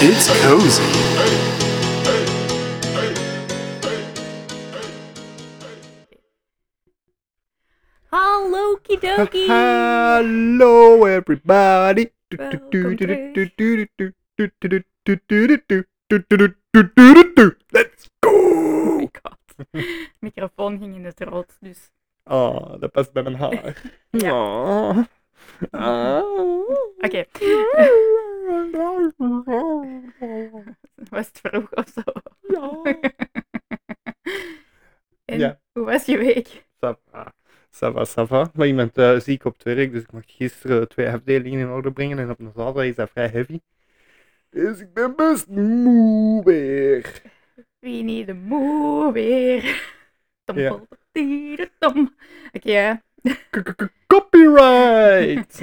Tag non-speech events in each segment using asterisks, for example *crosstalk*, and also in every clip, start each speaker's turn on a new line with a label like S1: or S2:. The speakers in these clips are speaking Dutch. S1: It's cozy.
S2: Hallo Oh kidoki.
S1: Hello everybody.
S2: Welkom terug.
S1: Let's
S2: Oh
S1: go.
S2: my god. *laughs* Microfoon ging in het rood, dus
S1: Oh, dat past bij mijn haar.
S2: Ja.
S1: Oh. Ah.
S2: oké. Was het vroeg of zo?
S1: Ja.
S2: En
S1: Ja.
S2: hoe was je week?
S1: Ça va, ça va, ça va. Maar iemand eh, ziek op het werk, dus ik mocht gisteren twee afdelingen in orde brengen en op een zaterdag is dat vrij heavy. Dus ik ben best moe weer.
S2: Wie niet de moe weer? *laughs* Tom,
S1: Ja.
S2: tom, tiere, tom. Oké, ja.
S1: K- k- k-
S2: *laughs*
S1: Copyright!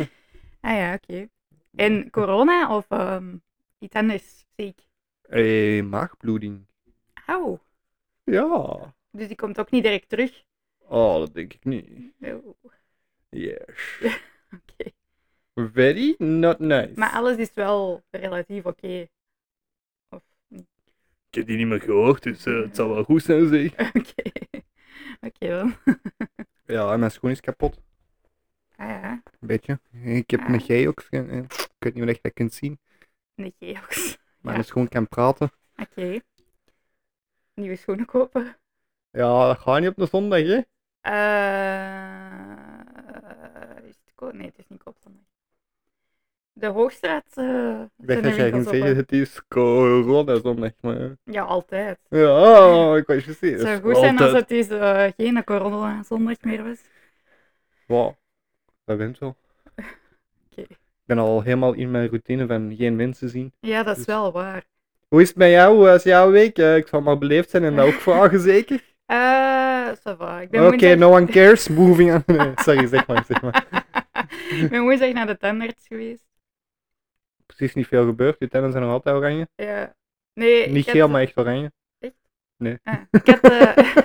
S2: Ah ja, oké. En corona of ehm, iets anders ziek?
S1: Hé, Eh, maagbloeding.
S2: Auw.
S1: Ja.
S2: Dus die komt ook niet direct terug.
S1: Oh, dat denk ik niet.
S2: Oh, Oké.
S1: Yes. Very not nice.
S2: Maar alles is wel relatief oké. Of niet? *laughs*
S1: Ik heb die niet meer gehoord, dus eh, het zal wel goed zijn zeg.
S2: Oké. Oké dan.
S1: Ja, en mijn schoen is kapot.
S2: Ah ja,
S1: Een beetje. Ik heb
S2: Ah.
S1: een jij ook. eh, eh, Ik weet niet of je dat kunt zien.
S2: de geox.
S1: Maar
S2: Ja.
S1: mijn schoen kan praten.
S2: Oké. Nieuwe schoenen kopen.
S1: Ja, dat gaat niet op de zondag, hè?
S2: Eh, is het ko- nee, het is niet koopstandaard. De Hoogstraat. eh
S1: Ik
S2: zijn
S1: dacht
S2: de
S1: dat jij ging
S2: winkels
S1: zeggen,
S2: open.
S1: het is corona zondag, maar...
S2: Ja, altijd.
S1: Ja, ik was je zeggen.
S2: Het zou goed zijn als het is, eh, geen corona zondag meer was.
S1: Wow, dat wint wel.
S2: Oké.
S1: Ik ben al helemaal in mijn routine van geen mensen zien.
S2: Ja, dat is
S1: Dus-
S2: wel waar.
S1: Hoe is het met jou? Hoe was jouw week? Eh, ik zal maar beleefd zijn en dat ook vragen, zeker?
S2: Eh, ça va. Ik ben
S1: Oké,
S2: woensdag-
S1: no one cares, moving on. *laughs* Nee, sorry, zeg maar, zeg maar.
S2: *laughs* ik ben woensdag naar de tandarts geweest.
S1: Precies niet veel gebeurd, je tanden zijn nog altijd oranje.
S2: Ja. Nee,
S1: Niet
S2: ik
S1: geel,
S2: had,
S1: maar echt oranje. *laughs*
S2: ah, ik, had, eh,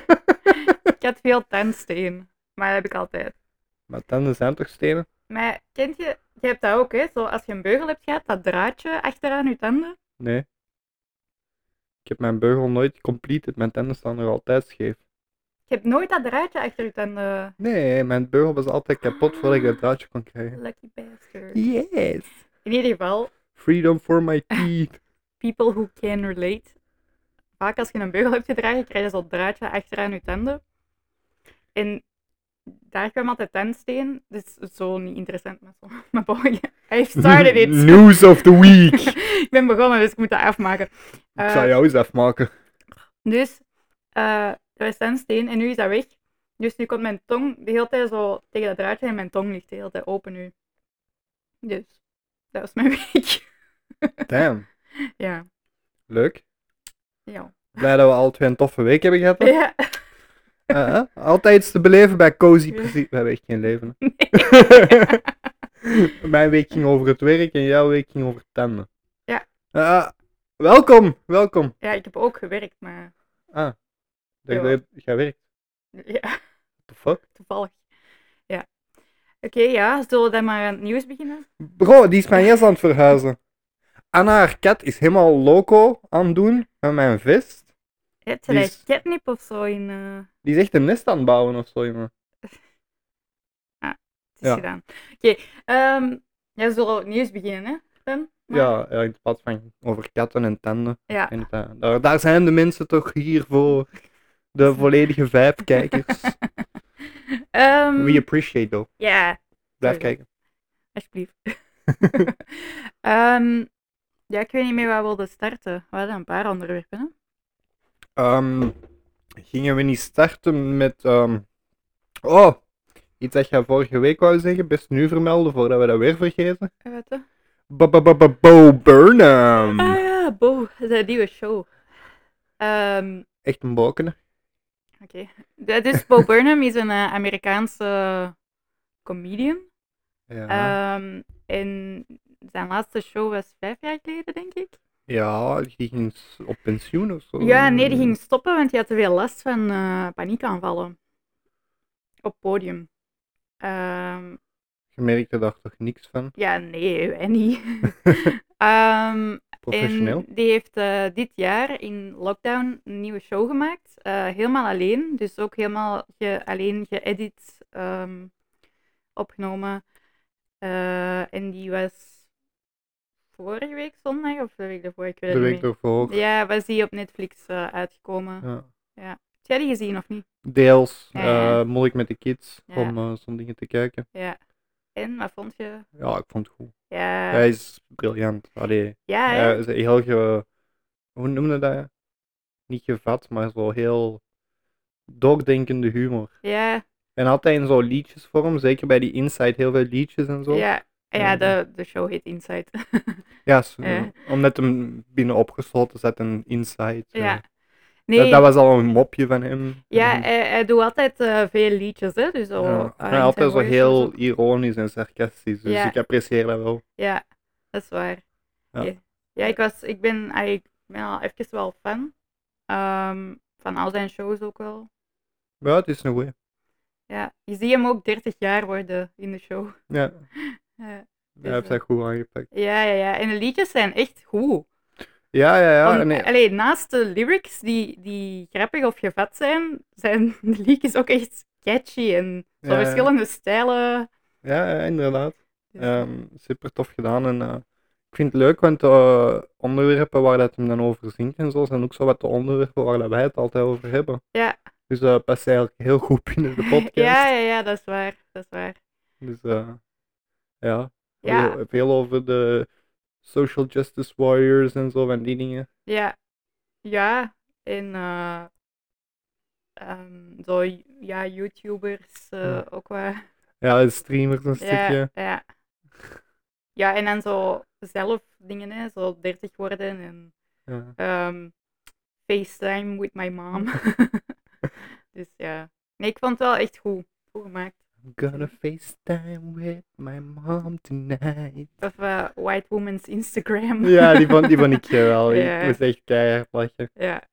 S2: *laughs* ik had veel tandsteen. Maar dat heb ik altijd.
S1: Maar tanden zijn toch stenen?
S2: Maar kent je, je hebt dat ook, hè? Zo, als je een beugel hebt gehad, dat draadje achteraan je tanden.
S1: Nee. Ik heb mijn beugel nooit completed, mijn tanden staan nog altijd scheef.
S2: Je hebt nooit dat draadje achter je tanden.
S1: Nee, mijn beugel was altijd kapot voordat ik dat draadje kon krijgen.
S2: Lucky bastard.
S1: Yes!
S2: In ieder geval,
S1: Freedom for my teeth.
S2: people who can relate. Vaak als je een beugel hebt gedragen, krijg je zo'n draadje achteraan je tanden. En daar kwam altijd tandsteen. Dit is zo niet interessant, maar zo. *laughs* Maar boy, I started it.
S1: *laughs* News of the week!
S2: *laughs* ik ben begonnen, dus ik moet dat afmaken.
S1: ik
S2: Eh,
S1: zou jou eens afmaken.
S2: Dus, eh er was tandsteen en nu is dat weg. Dus nu komt mijn tong de hele tijd zo tegen dat draadje en mijn tong ligt de hele tijd open nu. Dus, dat was mijn *laughs* week.
S1: Damn.
S2: ja,
S1: Leuk.
S2: ja.
S1: Blij dat we al twee een toffe week
S2: *laughs*
S1: hebben gehad. hè?
S2: Ja,
S1: Eh, eh, altijd iets te beleven bij Cozy.
S2: Ja.
S1: Precies. We hebben echt geen leven. hè? *laughs* mijn week ging over het werk en jouw week ging over tanden.
S2: Ja.
S1: Eh, welkom, welkom.
S2: ja, ik heb ook gewerkt, maar
S1: Dag,
S2: Ja.
S1: dag. Jij werkt.
S2: ja, *laughs*
S1: What the fuck?
S2: toevallig. Ja. Oké, ja, zullen we dan maar aan het nieuws beginnen?
S1: Bro, die is mijn jas aan het verhuizen. Anna, haar kat, is helemaal loco aan het doen met mijn vest.
S2: Heb je daar
S1: Is-
S2: catnip of zo in? eh,
S1: Die is echt een nest aan het bouwen of zo, jongen.
S2: het is
S1: Ja.
S2: gedaan. Oké, Ehm ja, zullen we het nieuws beginnen, hè? Dan? Maar-
S1: Ja, ja, in het pad van over katten en tanden.
S2: Ja,
S1: En het, eh, daar, daar zijn de mensen toch hier voor. De volledige vijf kijkers.
S2: Ehm,
S1: We appreciate though.
S2: ja.
S1: Blijf
S2: Sowieso.
S1: kijken.
S2: Alsjeblieft. *laughs* Ehm, ja, ik weet niet meer waar we wilden starten. We hadden een paar onderwerpen. Hè?
S1: Ehm, gingen we niet starten met. ehm, Oh, iets dat jij vorige week wou zeggen, best nu vermelden voordat we dat weer vergeten.
S2: Eh, Wat, hè?
S1: Ba- ba- ba- ba- Bo Burnham.
S2: Ah ja, Bo, de nieuwe show. Ehm,
S1: Echt een bokener.
S2: Oké. Dat is Bo Burnham is een eh, Amerikaanse comedian.
S1: Ja.
S2: Ehm, en zijn laatste show was vijf jaar geleden, denk ik.
S1: ja, die ging s- op pensioen of zo.
S2: Ja, nee, die ging stoppen, want die had te veel last van eh paniekaanvallen. Op podium. Ehm,
S1: Je merkte daar toch niks van.
S2: *laughs* Ja, nee, wij niet. Ehm,
S1: Professioneel.
S2: En die heeft eh, dit jaar in lockdown een nieuwe show gemaakt. eh, helemaal alleen. Dus ook helemaal ge- alleen geëdit, ehm, opgenomen. Eh, en die was vorige week zondag of de week daarvoor? Ik weet
S1: De
S2: het
S1: week
S2: niet meer.
S1: ervoor.
S2: Ja, was die op Netflix eh, uitgekomen.
S1: Ja.
S2: Heb jij die gezien of niet?
S1: Deels
S2: Ja, ja.
S1: eh, moeilijk met de kids
S2: Ja.
S1: om eh, zo'n dingen te kijken.
S2: Ja. En, wat vond je?
S1: Ja, ik vond het goed.
S2: Ja, ja,
S1: Hij is briljant. Allee,
S2: hè?
S1: hij is heel ge... Hoe noemde dat? Niet gevat, maar zo heel doordenkende humor.
S2: ja.
S1: En altijd in zo'n liedjesvorm, zeker bij die Inside, heel veel liedjes en zo.
S2: Ja, ja
S1: Ja.
S2: de, de show heet Inside. *laughs*
S1: Ja, s-
S2: Ja.
S1: omdat hem binnen opgesloten zat en Inside. eh,
S2: ja.
S1: dat,
S2: Nee,
S1: dat was al een mopje van hem.
S2: ja,
S1: En-
S2: hij, hij doet altijd eh, veel liedjes, hè. Dus zo,
S1: Ehm, Ja,
S2: eh,
S1: hij
S2: in zijn
S1: altijd zo
S2: voice
S1: heel
S2: ook.
S1: ironisch en sarcastisch, dus
S2: Ja.
S1: ik apprecieer dat wel.
S2: Ja, dat is waar.
S1: Ja.
S2: Ja, Ja, ik, was, ik, ben, ah, ik ben al even wel fan. ehm, van al zijn shows ook wel.
S1: Ja, het is een goeie.
S2: Ja, je ziet hem ook 30 jaar worden in de show.
S1: Ja,
S2: Ja,
S1: hij heeft dat goed aangepakt.
S2: ja, ja, ja. En de liedjes zijn echt goed.
S1: Ja, ja, ja.
S2: Om-
S1: en-
S2: allee, naast de lyrics die, die grappig of gevat zijn, zijn *laughs* de liedjes ook echt catchy en zo
S1: Ja, ja.
S2: verschillende stijlen.
S1: ja, ja, inderdaad.
S2: Dus,
S1: Ehm, super tof gedaan. En, eh, ik vind het leuk, want de onderwerpen waar dat hem dan over zingt en zo, zijn ook zo wat de onderwerpen waar dat wij het altijd over hebben.
S2: Ja.
S1: Dus dat past eigenlijk heel goed binnen de podcast.
S2: *laughs* Ja, ja, ja, dat is waar. Dat is waar.
S1: Dus eh, ja,
S2: Ja,
S1: Veel, veel over de social justice warriors en zo van die dingen.
S2: ja. Ja, en eh, ehm, zo, ja, YouTubers eh,
S1: Ja.
S2: ook wel.
S1: Ja, streamers een
S2: Ja,
S1: stukje.
S2: ja. Ja, en dan zo zelf dingen, hè, zo 30 worden en
S1: Ja.
S2: ehm, FaceTime with my
S1: *laughs*
S2: mom. dus ja. Nee, ik vond het wel echt goed. Goed gemaakt.
S1: I'm gonna FaceTime with my mom tonight.
S2: *laughs* Of eh, White Woman's Instagram.
S1: Ja, die vond, die vond ik geweldig.
S2: Ja.
S1: Ik moest echt keihard lachen.
S2: *laughs* Ja.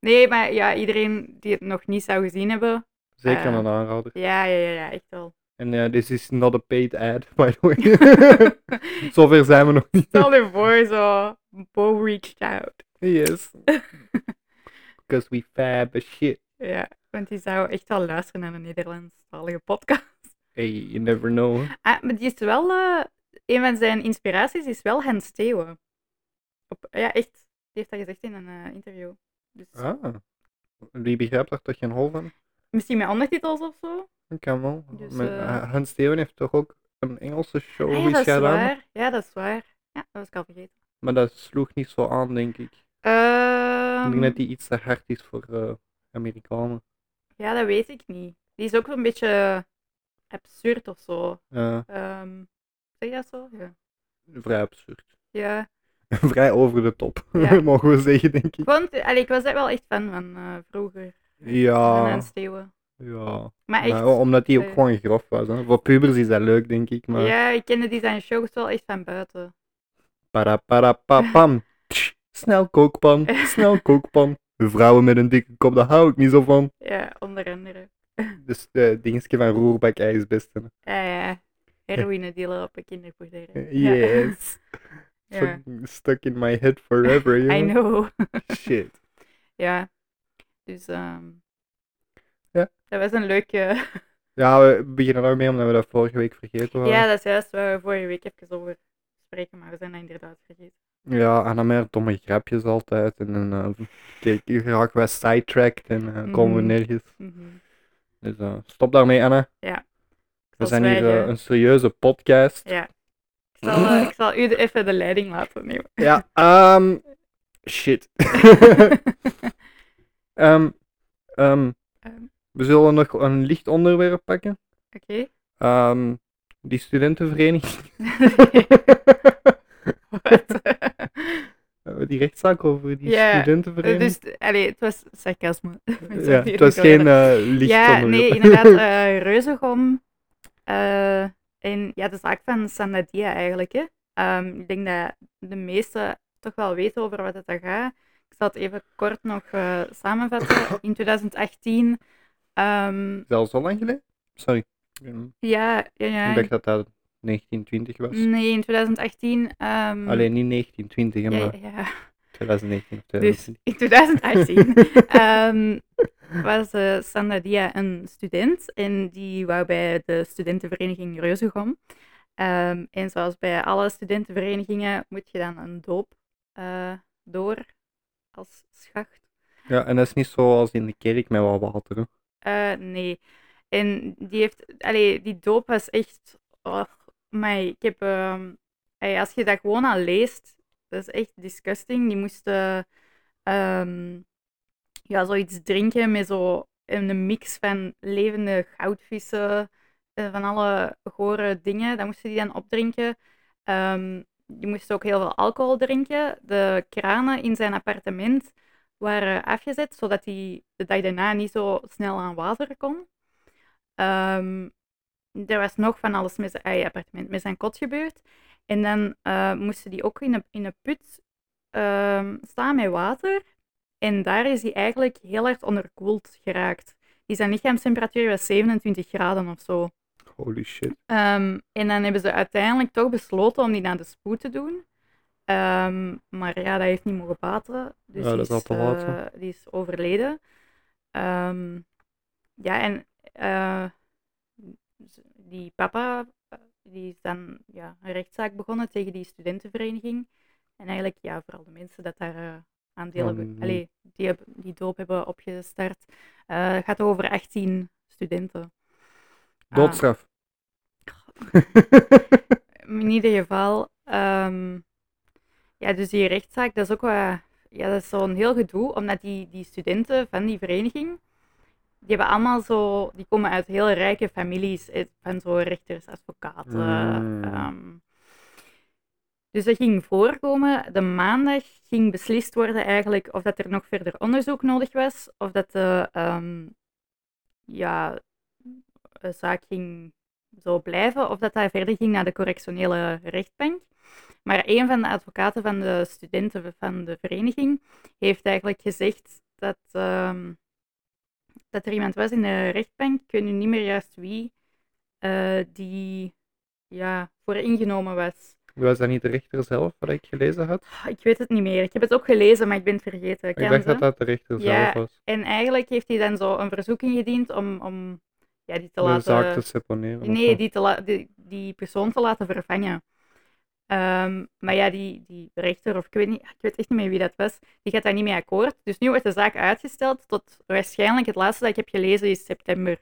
S2: Nee, maar ja, iedereen die het nog niet zou gezien hebben.
S1: Zeker
S2: Ah.
S1: een aanrader.
S2: Ja, ja, ja, ja echt wel.
S1: En eh, this is not a paid ad, *laughs* by the
S2: *laughs*
S1: *laughs* way. Zover zijn we nog niet.
S2: Stel je voor, zo. Bo reached out. *laughs*
S1: Yes. Because we fab as shit.
S2: Ja, want die zou echt wel luisteren naar een Nederlandstalige podcast.
S1: Hey, you never know.
S2: Ah, maar die is wel. eh, een van zijn inspiraties is wel Hans Steeuwen. Op, ja, echt. Die heeft dat gezegd in een eh, interview. Dus
S1: Ah. Die begrijpt daar toch geen hol van?
S2: Misschien met ondertitels of zo.
S1: Dat kan wel.
S2: Dus,
S1: Maar,
S2: eh,
S1: eh, Hans Steven heeft toch ook een Engelse show
S2: Ah ja,
S1: iets
S2: dat is
S1: gedaan?
S2: waar. Ja, dat is waar. Ja, dat was ik al vergeten.
S1: Maar dat sloeg niet zo aan, denk ik. ik denk
S2: Ehm,
S1: dat die iets te hard is voor eh, Amerikanen.
S2: Ja, dat weet ik niet. Die is ook een beetje absurd of zo.
S1: Eh,
S2: Ehm, zeg je dat zo? Ja.
S1: vrij absurd. *laughs*
S2: ja.
S1: vrij over de top,
S2: Ja.
S1: *laughs* mogen we zeggen, denk
S2: Ik,
S1: ik.
S2: vond, allee, ik was daar wel echt fan van eh, vroeger. Van
S1: Ja,
S2: Hans Steeuwen.
S1: ja.
S2: Maar echt.
S1: Maar omdat die ook
S2: eh,
S1: gewoon grof was. Hè. Voor pubers is dat leuk, denk ik. Maar
S2: Ja, ik kende die zijn shows wel echt van buiten.
S1: para para pa pam. Tsch, Snel
S2: *laughs*
S1: kookpan, snel kookpan. Vrouwen met een dikke kop, daar hou ik niet zo van.
S2: Ja, onder andere.
S1: Dus de dingetje van roerbak ei is best. hè.
S2: Eh, heroïne dealen op een kinderboerderij. *laughs* Ja.
S1: Eh, Yes.
S2: Ja.
S1: Fucking Stuck in my head forever, you
S2: *laughs* I
S1: know?
S2: know.
S1: Shit.
S2: Ja. Dus, ehm
S1: Ja.
S2: Dat was een leuke...
S1: Ja, we beginnen daarmee omdat we dat vorige week vergeten
S2: *laughs*
S1: waren.
S2: Ja, dat is juist waar we vorige week even over spreken, maar we zijn dat inderdaad vergeten.
S1: Ja, en dan meer domme grapjes altijd. En dan eh, kijk, hier raken wij sidetracked en eh, komen we
S2: Mhm.
S1: nergens.
S2: Mhm.
S1: Dus eh, stop daarmee, Anna.
S2: Ik
S1: We
S2: zal
S1: zijn hier eh,
S2: zwijgen.
S1: een serieuze podcast.
S2: Ja. Ik zal, eh, ik zal u de- even de leiding laten
S1: *laughs*
S2: nemen. *laughs*
S1: Ja, ehm, shit. Ehm, ehm,
S2: Ehm.
S1: we zullen nog een licht onderwerp pakken.
S2: Oké.
S1: Ehm, die
S2: *laughs*
S1: studentenvereniging.
S2: Wat?
S1: *laughs* Eh, die rechtszaak over die
S2: Ja,
S1: studentenvereniging.
S2: dus, allee, het was sarcasme. *laughs* Ik zal
S1: ja,
S2: hier
S1: het was
S2: niet
S1: geen eh, licht
S2: Ja,
S1: onderwerp. *laughs*
S2: nee, inderdaad. eh Reuzegom. eh, en ja, de zaak van Sanadia eigenlijk. Hè. Ehm, ik denk dat de meesten toch wel weten over wat het daar gaat. Ik zal het even kort nog eh, samenvatten. In 2018. ehm,
S1: Zelfs al lang geleden? Sorry. Ik
S2: ja, Mm. ja, ja,
S1: dacht dat dat 1920 was.
S2: Nee, in 2018. ehm,
S1: Alleen niet 1920,
S2: ja,
S1: maar
S2: ja, ja. *laughs*
S1: 2019 of
S2: Dus
S1: 2020.
S2: in 2018 ehm, was eh Sandadia een student en die wou bij de studentenvereniging Reuzegom. Ehm en zoals bij alle studentenverenigingen moet je dan een doop eh, door als schacht.
S1: *laughs* Ja, en dat is niet zoals in de kerk met wat water. hè.
S2: Eh, nee. En die heeft, allee, die doop was echt. Oh, maar ik heb, ehm, ey, als je dat gewoon al leest, dat is echt disgusting. Die moesten ehm, ja, zoiets drinken met zo een mix van levende goudvissen, eh, van alle gore dingen. Dat moesten die dan opdrinken. Ehm, die moesten ook heel veel alcohol drinken. De kranen in zijn appartement waren afgezet, zodat hij de dag daarna niet zo snel aan water kon. Ehm, er was nog van alles met zijn eigen appartement, met zijn kot gebeurd. En dan eh, moesten die ook in een, in een put ehm, staan met water. En daar is hij eigenlijk heel hard onderkoeld geraakt. Die zijn lichaamstemperatuur was 27 graden of zo.
S1: Holy shit.
S2: Ehm, en dan hebben ze uiteindelijk toch besloten om die naar de spoed te doen. Ehm, maar ja, dat heeft niet mogen baten. Dus
S1: Ja,
S2: die, is,
S1: dat is al te laat, hè.
S2: eh, die is overleden. Ehm, ja, en eh, z- die papa eh, die is dan ja, een rechtszaak begonnen tegen die studentenvereniging. En eigenlijk, ja, vooral de mensen dat daar eh, aan deel
S1: Oh,
S2: hebben,
S1: nee.
S2: allee, die, heb- die doop hebben opgestart. Eh, Het gaat over 18 studenten. Ah. *laughs*
S1: Doodstraf.
S2: in ieder geval, ehm, ja, dus die rechtszaak, dat is ook wel, ja, dat is zo'n heel gedoe, omdat die, die studenten van die vereniging, die hebben allemaal zo, die komen uit heel rijke families, eh, van zo rechters, advocaten.
S1: Mm.
S2: ehm. dus dat ging voorkomen. De maandag ging beslist worden eigenlijk of dat er nog verder onderzoek nodig was, of dat de ehm, ja, de zaak ging zo blijven, of dat hij verder ging naar de correctionele rechtbank. Maar een van de advocaten van de studenten van de vereniging heeft eigenlijk gezegd dat, ehm, dat er iemand was in de rechtbank, ik weet nu niet meer juist wie, eh, die ja, voor ingenomen was.
S1: Was dat niet de rechter zelf, wat ik gelezen had?
S2: Ah, Ik weet het niet meer. Ik heb het ook gelezen, maar ik ben het vergeten.
S1: Ik
S2: Kan
S1: dacht
S2: ze?
S1: dat dat de rechter
S2: Ja,
S1: zelf was.
S2: En eigenlijk heeft hij dan zo een verzoek ingediend om, om ja, die te
S1: Om de
S2: laten...
S1: zaak te seponeren. of
S2: Nee,
S1: zo.
S2: die, te la- die, die persoon te laten vervangen. Ehm, maar ja, die, die rechter, of ik weet, niet, ik weet echt niet meer wie dat was, die gaat daar niet mee akkoord. Dus nu wordt de zaak uitgesteld tot waarschijnlijk het laatste dat ik heb gelezen is september.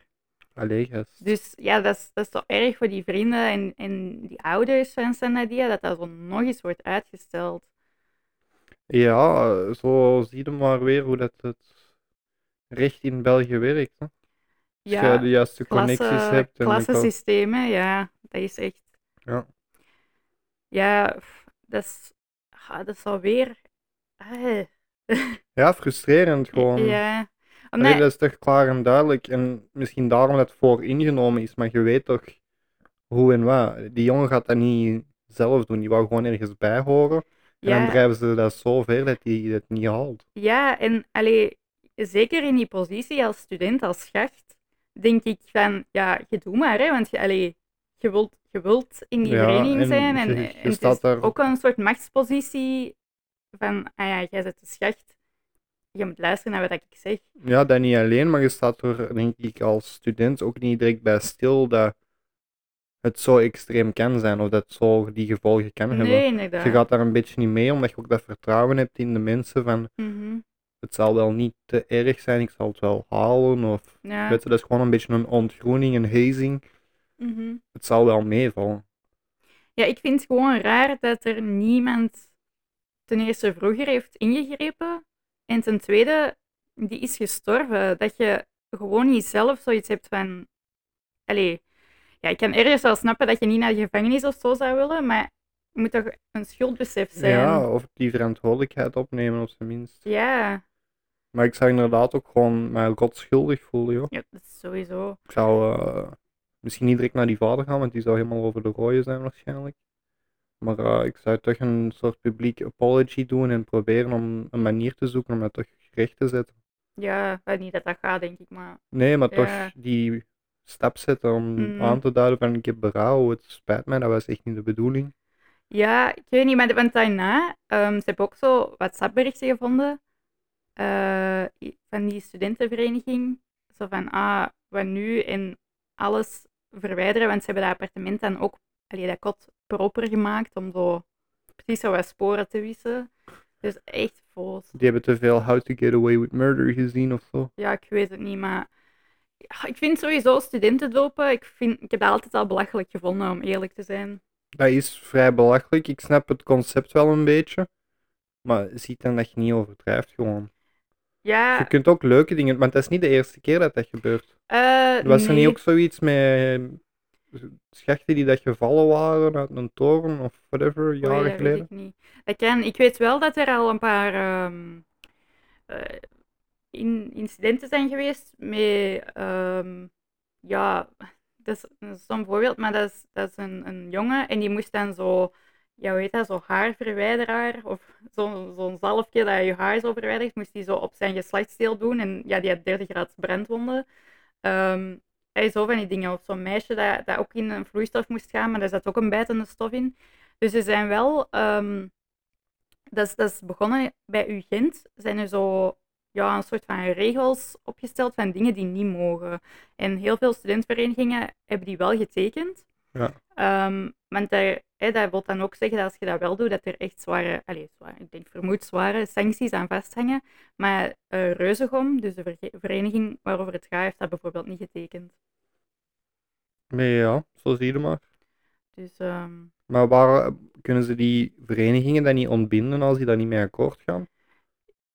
S1: Allee, gast.
S2: Dus ja, dat is, dat is toch erg voor die vrienden en, en die ouders van Sanadia, dat dat zo nog eens wordt uitgesteld.
S1: Ja, eh, zo zie je maar weer hoe dat het recht in België werkt. Hè? Als
S2: Ja,
S1: je de juiste connecties
S2: klasse,
S1: hebt. En de klas-
S2: klassensystemen, ja, dat is echt
S1: ja.
S2: Ja, pff, dat is, ah, dat is alweer. ah,
S1: ja, frustrerend gewoon.
S2: Ja.
S1: Allee,
S2: Omdat,
S1: dat is toch klaar en duidelijk. En misschien daarom dat het voor ingenomen is, maar je weet toch hoe en wat. Die jongen gaat dat niet zelf doen. Die wou gewoon ergens bij horen. En dan
S2: ja,
S1: drijven ze dat zo ver dat hij het niet haalt.
S2: ja, en allee, zeker in die positie als student, als schacht, denk ik van, ja, je doet maar, hè, want je, allee, je, wilt, je wilt in die
S1: Ja,
S2: vereniging
S1: en
S2: zijn en,
S1: je- je
S2: en het
S1: staat
S2: is
S1: daar-
S2: ook een soort machtspositie van, ah ja, jij bent de schacht, je moet luisteren naar wat ik zeg.
S1: Ja, dat niet alleen, maar je staat er, denk ik, als student ook niet direct bij stil dat het zo extreem kan zijn of dat het zo die gevolgen kan
S2: Nee,
S1: hebben.
S2: inderdaad.
S1: Je gaat daar een beetje niet mee, omdat je ook dat vertrouwen hebt in de mensen van
S2: Mhm,
S1: het zal wel niet te erg zijn, ik zal het wel halen. Of,
S2: ja.
S1: weet je, dat is gewoon een beetje een ontgroening, een hazing.
S2: mhm.
S1: Het zal wel meevallen.
S2: Ja, ik vind het gewoon raar dat er niemand ten eerste vroeger heeft ingegrepen. En ten tweede, die is gestorven. Dat je gewoon niet zelf zoiets hebt van. Allee, ja, ik kan ergens wel snappen dat je niet naar de gevangenis of zo zou willen, maar je moet toch een schuldbesef zijn.
S1: Ja, of die verantwoordelijkheid opnemen op zijn minst.
S2: ja,
S1: Maar ik zou inderdaad ook gewoon mij rotschuldig voelen, joh.
S2: ja, dat is sowieso.
S1: Ik zou eh, misschien niet direct naar die vader gaan, want die zou helemaal over de rode zijn waarschijnlijk. Maar eh, ik zou toch een soort publiek apology doen en proberen om een manier te zoeken om dat toch recht te zetten.
S2: Ja, ik weet niet dat dat gaat, denk ik, maar
S1: Nee, maar
S2: Ja.
S1: toch die stap zetten om
S2: Mhm.
S1: aan te duiden van ik heb berouw, het spijt mij, dat was echt niet de bedoeling.
S2: Ja, ik weet niet, maar want daarna, ehm ze hebben ook zo WhatsApp-berichten gevonden eh, van die studentenvereniging. Zo van, ah, wat nu en alles verwijderen, want ze hebben dat appartement dan ook, allee, dat kot proper gemaakt om zo precies zo wat sporen te wissen. Dus echt vol.
S1: Die hebben te veel How to Get Away with Murder gezien of zo.
S2: Ja, ik weet het niet, maar ja, ik vind sowieso studentendopen, ik, vind, ik heb dat altijd al belachelijk gevonden, om eerlijk te zijn.
S1: Dat is vrij belachelijk. Ik snap het concept wel een beetje. Maar zie dan dat je niet overdrijft gewoon. Je
S2: Ja,
S1: kunt ook leuke dingen, want dat is niet de eerste keer dat dat gebeurt.
S2: eh
S1: Er was er
S2: nee.
S1: niet ook zoiets met eh, schachten die dat gevallen waren uit een toren of whatever,
S2: Oei,
S1: jaren
S2: dat Oh weet
S1: geleden?
S2: ik niet. Dat kan. Ik weet wel dat er al een paar ehm, eh, in, incidenten zijn geweest met, ehm, ja, dat is, dat is zo'n voorbeeld, maar dat is, dat is een, een jongen en die moest dan zo, ja, weet dat, zo'n haarverwijderaar of *laughs* zo'n zo'n zalfje dat je haar zo verwijdert, moest die zo op zijn geslachtsdeel doen en ja, die had derde graads brandwonden. Ehm hij zo van die dingen. Of zo'n meisje dat, dat ook in een vloeistof moest gaan, maar daar zat ook een bijtende stof in. Dus er zijn wel, ehm, dat, is, dat is begonnen bij UGent, zijn er zo ja, een soort van regels opgesteld van dingen die niet mogen. En heel veel studentverenigingen hebben die wel getekend.
S1: Ja.
S2: Ehm, want daar, hè, dat wil dan ook zeggen dat als je dat wel doet, dat er echt zware, allez, zware ik denk vermoed zware sancties aan vasthangen. Maar eh Reuzegom, dus de verge- vereniging waarover het gaat, heeft dat bijvoorbeeld niet getekend.
S1: Maar ja, zo zie je maar.
S2: Dus ehm,
S1: Maar waar eh, kunnen ze die verenigingen dan niet ontbinden als die daar niet mee akkoord gaan?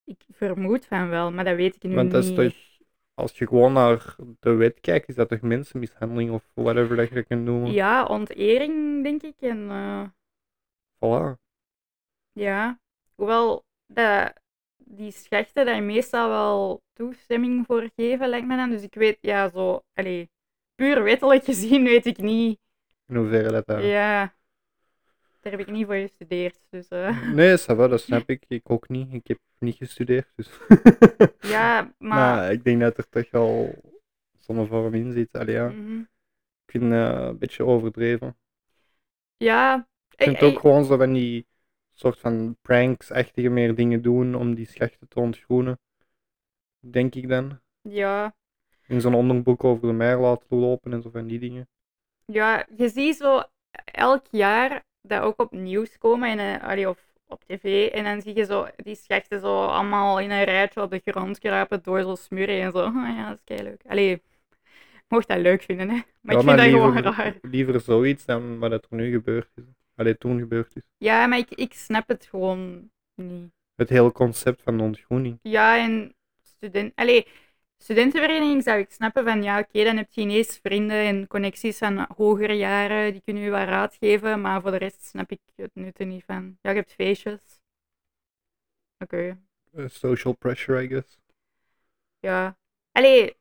S2: ik vermoed van wel, maar dat weet ik nu
S1: Want dat is
S2: niet.
S1: toch, als je gewoon naar de wet kijkt, is dat toch mensenmishandeling of whatever dat je dat kunt noemen?
S2: Ja, ontering, denk ik. En eh,
S1: Voilà.
S2: ja, hoewel dat, die schechten daar meestal wel toestemming voor geven, lijkt me dan. Dus ik weet, ja, zo, allee, puur wettelijk gezien weet ik niet.
S1: In hoeverre dat
S2: Ja,
S1: daar.
S2: daar heb ik niet voor gestudeerd. Dus
S1: *laughs*
S2: eh,
S1: Nee, ça va, dat
S2: *laughs*
S1: snap ik. Ik ook niet. Ik heb niet gestudeerd. Dus. *laughs* Nou,
S2: ja, maar...
S1: maar ik denk dat er toch wel zo'n vorm in zit. Allee, ja.
S2: mhm.
S1: Ik vind het een beetje overdreven.
S2: Ja,
S1: Ik
S2: ey,
S1: vind het ook
S2: ey,
S1: gewoon zo van die soort van pranks-achtige meer dingen doen om die schachten te ontgroenen. Denk ik dan.
S2: ja,
S1: In zo'n onderbroek over de meer laten lopen en zo van die dingen.
S2: Ja, je ziet zo elk jaar dat ook op nieuws komen en, eh, allee, of op tv. En dan zie je zo die schechten zo allemaal in een rijtje op de grond kruipen door zo'n smurrie en zo. *laughs* Ah ja, dat is leuk. Allee, ik mocht dat leuk vinden, hè. Maar
S1: Ja,
S2: ik vind dat gewoon
S1: liever,
S2: raar.
S1: liever zoiets dan wat er nu gebeurd is. Allee, toen gebeurd is.
S2: Ja, maar ik, ik snap het gewoon niet.
S1: Het hele concept van de ontgroening.
S2: Ja, en student... Allee, studentenvereniging zou ik snappen van ja, oké, dan heb je ineens vrienden en connecties van hogere jaren, die kunnen je wat raad geven, maar voor de rest snap ik het nut er niet van. Ja, je hebt feestjes. Oké,
S1: Eh, social pressure, I guess.
S2: ja. Allee,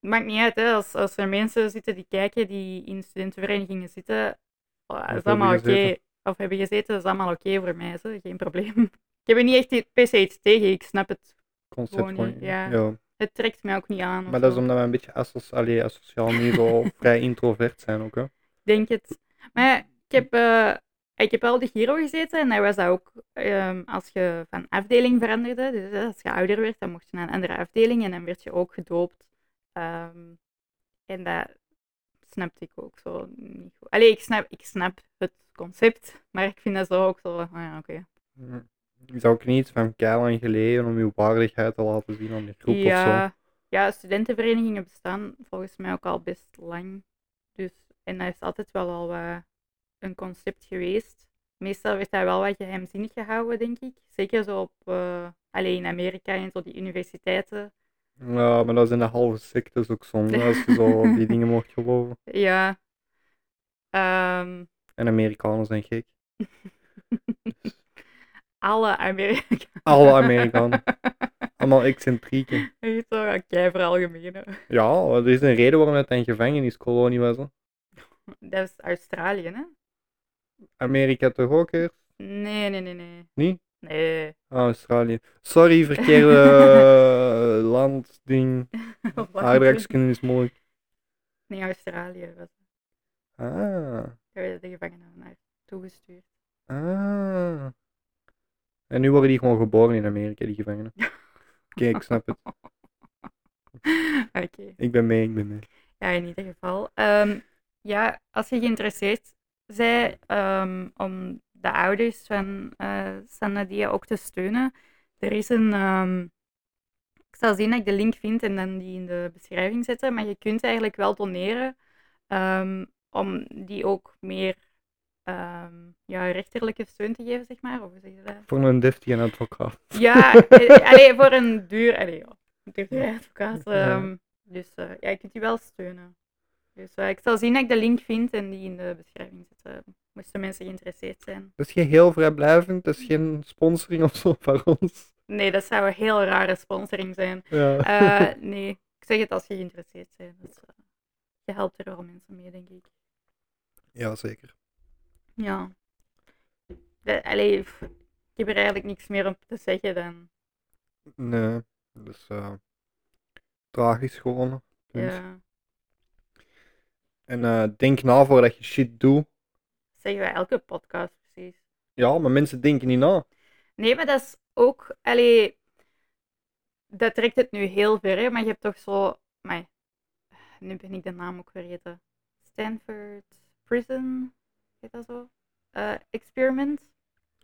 S2: maakt niet uit, hè. Als, als er mensen zitten die kijken, die in studentenverenigingen zitten, oh, dat is
S1: hebben
S2: allemaal oké.
S1: gezeten.
S2: Of hebben gezeten, dat is allemaal oké voor mij, zo. geen probleem. *laughs* Ik heb er niet echt per se iets tegen, ik snap het.
S1: Concept
S2: Gewoon
S1: gewoon.
S2: niet, ja.
S1: ja.
S2: Het trekt mij ook niet aan. of
S1: Maar dat is
S2: zo.
S1: omdat we een beetje asos, allee, asociaal niet zo *laughs* vrij introvert zijn ook. Hè.
S2: denk het. Maar ja, ik heb, eh, ik heb wel de Giro gezeten en daar was dat ook ehm, als je van afdeling veranderde. Dus eh, als je ouder werd, dan mocht je naar een andere afdeling en dan werd je ook gedoopt. Ehm, en dat snapte ik ook zo niet goed. Allee, ik snap, ik snap het concept, maar ik vind dat zo ook zo van, ah ja, oké.
S1: Mm. Is ook niet van keil en geleden om je waardigheid te laten zien aan de groep of zo.
S2: Ja, ja, studentenverenigingen bestaan volgens mij ook al best lang. Dus, en dat is altijd wel al wat een concept geweest. Meestal werd dat wel wat geheimzinnig gehouden, denk ik. Zeker zo op, eh, alleen in Amerika en zo die universiteiten.
S1: Ja, maar dat is in de halve sectes ook zonde als je zo die dingen mocht geloven.
S2: Ja. Ehm,
S1: En Amerikanen zijn gek.
S2: alle Amerikanen.
S1: Alle Amerikanen. Allemaal excentrieken.
S2: *laughs* Echt zo, oké, veralgemenen.
S1: Ja, er is een reden waarom het een gevangeniskolonie was. Hè.
S2: Dat is Australië, hè?
S1: Amerika toch ook eerst?
S2: Nee, nee, nee, nee.
S1: Niet?
S2: Nee. *laughs*
S1: Ah, Australië. Sorry, verkeerde eh, land, ding. Aardrijkskunde is moeilijk.
S2: Nee, Australië was het.
S1: Ah.
S2: Daar werden de gevangenen naar toegestuurd. *laughs*
S1: Ah. En nu worden die gewoon geboren in Amerika, die
S2: *laughs*
S1: gevangenen. Oké, ik snap het.
S2: Oké.
S1: Ik ben mee, ik ben mee.
S2: Ja, in ieder geval. Ehm, ja, als je geïnteresseerd bent ehm, om de ouders van eh Sanadia ook te steunen, er is een. ehm, ik zal zien dat ik de link vind en dan die in de beschrijving zetten. Maar je kunt eigenlijk wel doneren ehm, om die ook meer ehm, ja, rechterlijke steun te geven, zeg maar. Of hoe zeg je dat?
S1: Voor een deftige advocaat.
S2: *laughs*
S1: *laughs*
S2: Ja, eh, allee, voor een duur, allee, ja, een duur duur advocaat.
S1: Ja.
S2: ehm, dus eh, ja, je kunt die wel steunen. Dus eh, ik zal zien dat ik de link vind en die in de beschrijving zet. eh, moesten mensen geïnteresseerd zijn.
S1: Dat is geen heel vrijblijvend, dat is geen sponsoring of zo van ons.
S2: Nee, dat zou een heel rare sponsoring zijn.
S1: Ja. *laughs*
S2: Eh, nee, ik zeg het als je geïnteresseerd bent. Dus, eh, je helpt er wel mensen mee, denk ik.
S1: ja, zeker.
S2: Ja. De, allee, pff, ik heb er eigenlijk niks meer om te zeggen dan.
S1: Nee, dus eh tragisch gewoon. punt.
S2: Ja,
S1: En eh, denk na voordat je shit doet.
S2: dat zeggen wij elke podcast precies.
S1: Ja, maar mensen denken niet na.
S2: Nee, maar dat is ook. Allee, dat trekt het nu heel ver, hè, maar je hebt toch zo. Maar nu ben ik de naam ook vergeten. Stanford Prison, heet dat zo? Eh, experiment.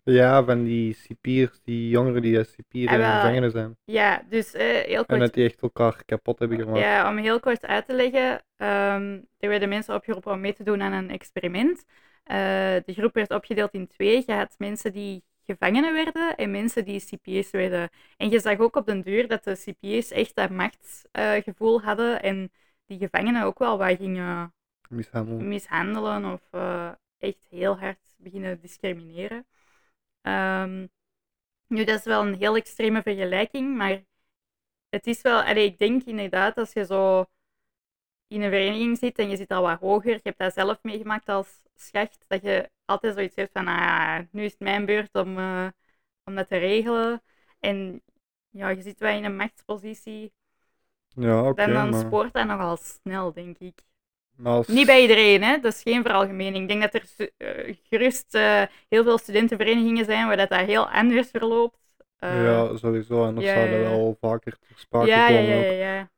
S1: Ja, van die cipiers, die jongeren die als cipieren in
S2: Ah, wel.
S1: gevangenen zijn.
S2: Ja, dus eh, heel
S1: En
S2: kort.
S1: dat die echt elkaar kapot hebben gemaakt.
S2: Ja, om heel kort uit te leggen, ehm, er werden mensen opgeroepen om mee te doen aan een experiment. Eh, de groep werd opgedeeld in twee. Je had mensen die gevangenen werden en mensen die cipiers werden. En je zag ook op den duur dat de cipiers echt dat machtsgevoel hadden en die gevangenen ook wel wat gingen
S1: Mishandelen.
S2: mishandelen of eh, echt heel hard beginnen discrimineren. Ehm, nu, dat is wel een heel extreme vergelijking, maar het is wel, allee, ik denk inderdaad, als je zo in een vereniging zit en je zit al wat hoger, je hebt dat zelf meegemaakt als schacht, dat je altijd zoiets hebt van, ah, nu is het mijn beurt om, eh, om dat te regelen. En ja, je zit wel in een machtspositie.
S1: Ja, oké.
S2: dan dan
S1: maar,
S2: spoort dat nogal snel, denk ik.
S1: maar als-
S2: Niet bij iedereen, hè? dat is geen veralgemening. Ik denk dat er stu- eh, gerust eh, heel veel studentenverenigingen zijn waar dat, dat heel anders verloopt. Eh,
S1: Ja, sowieso. Anders
S2: ja,
S1: zouden
S2: ja,
S1: we
S2: ja.
S1: al vaker ter sprake
S2: ja, ja,
S1: komen.
S2: ja,
S1: ook.
S2: ja, ja.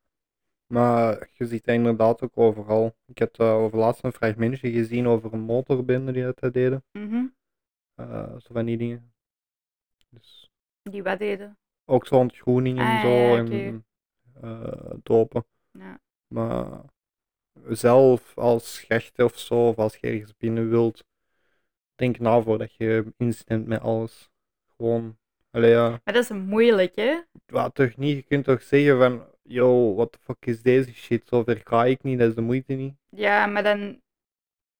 S1: Maar je ziet dat inderdaad ook overal. Ik heb eh over laatst een fragmentje gezien over een motorbende die dat deden.
S2: Mhm.
S1: Eh, zo van die dingen. Dus
S2: Die wat deden.
S1: ook zo ontgroening en
S2: Ah,
S1: zo.
S2: ja,
S1: en
S2: oké.
S1: eh, dopen.
S2: Ja.
S1: Maar zelf als schacht of zo, of als je ergens binnen wilt, denk na voordat je instemt met alles. Gewoon, allee ja,
S2: Maar dat is moeilijk, hè?
S1: wat toch niet, je kunt toch zeggen van, yo, what the fuck is deze shit, zo ver ga ik niet, dat is de moeite niet.
S2: Ja, maar dan.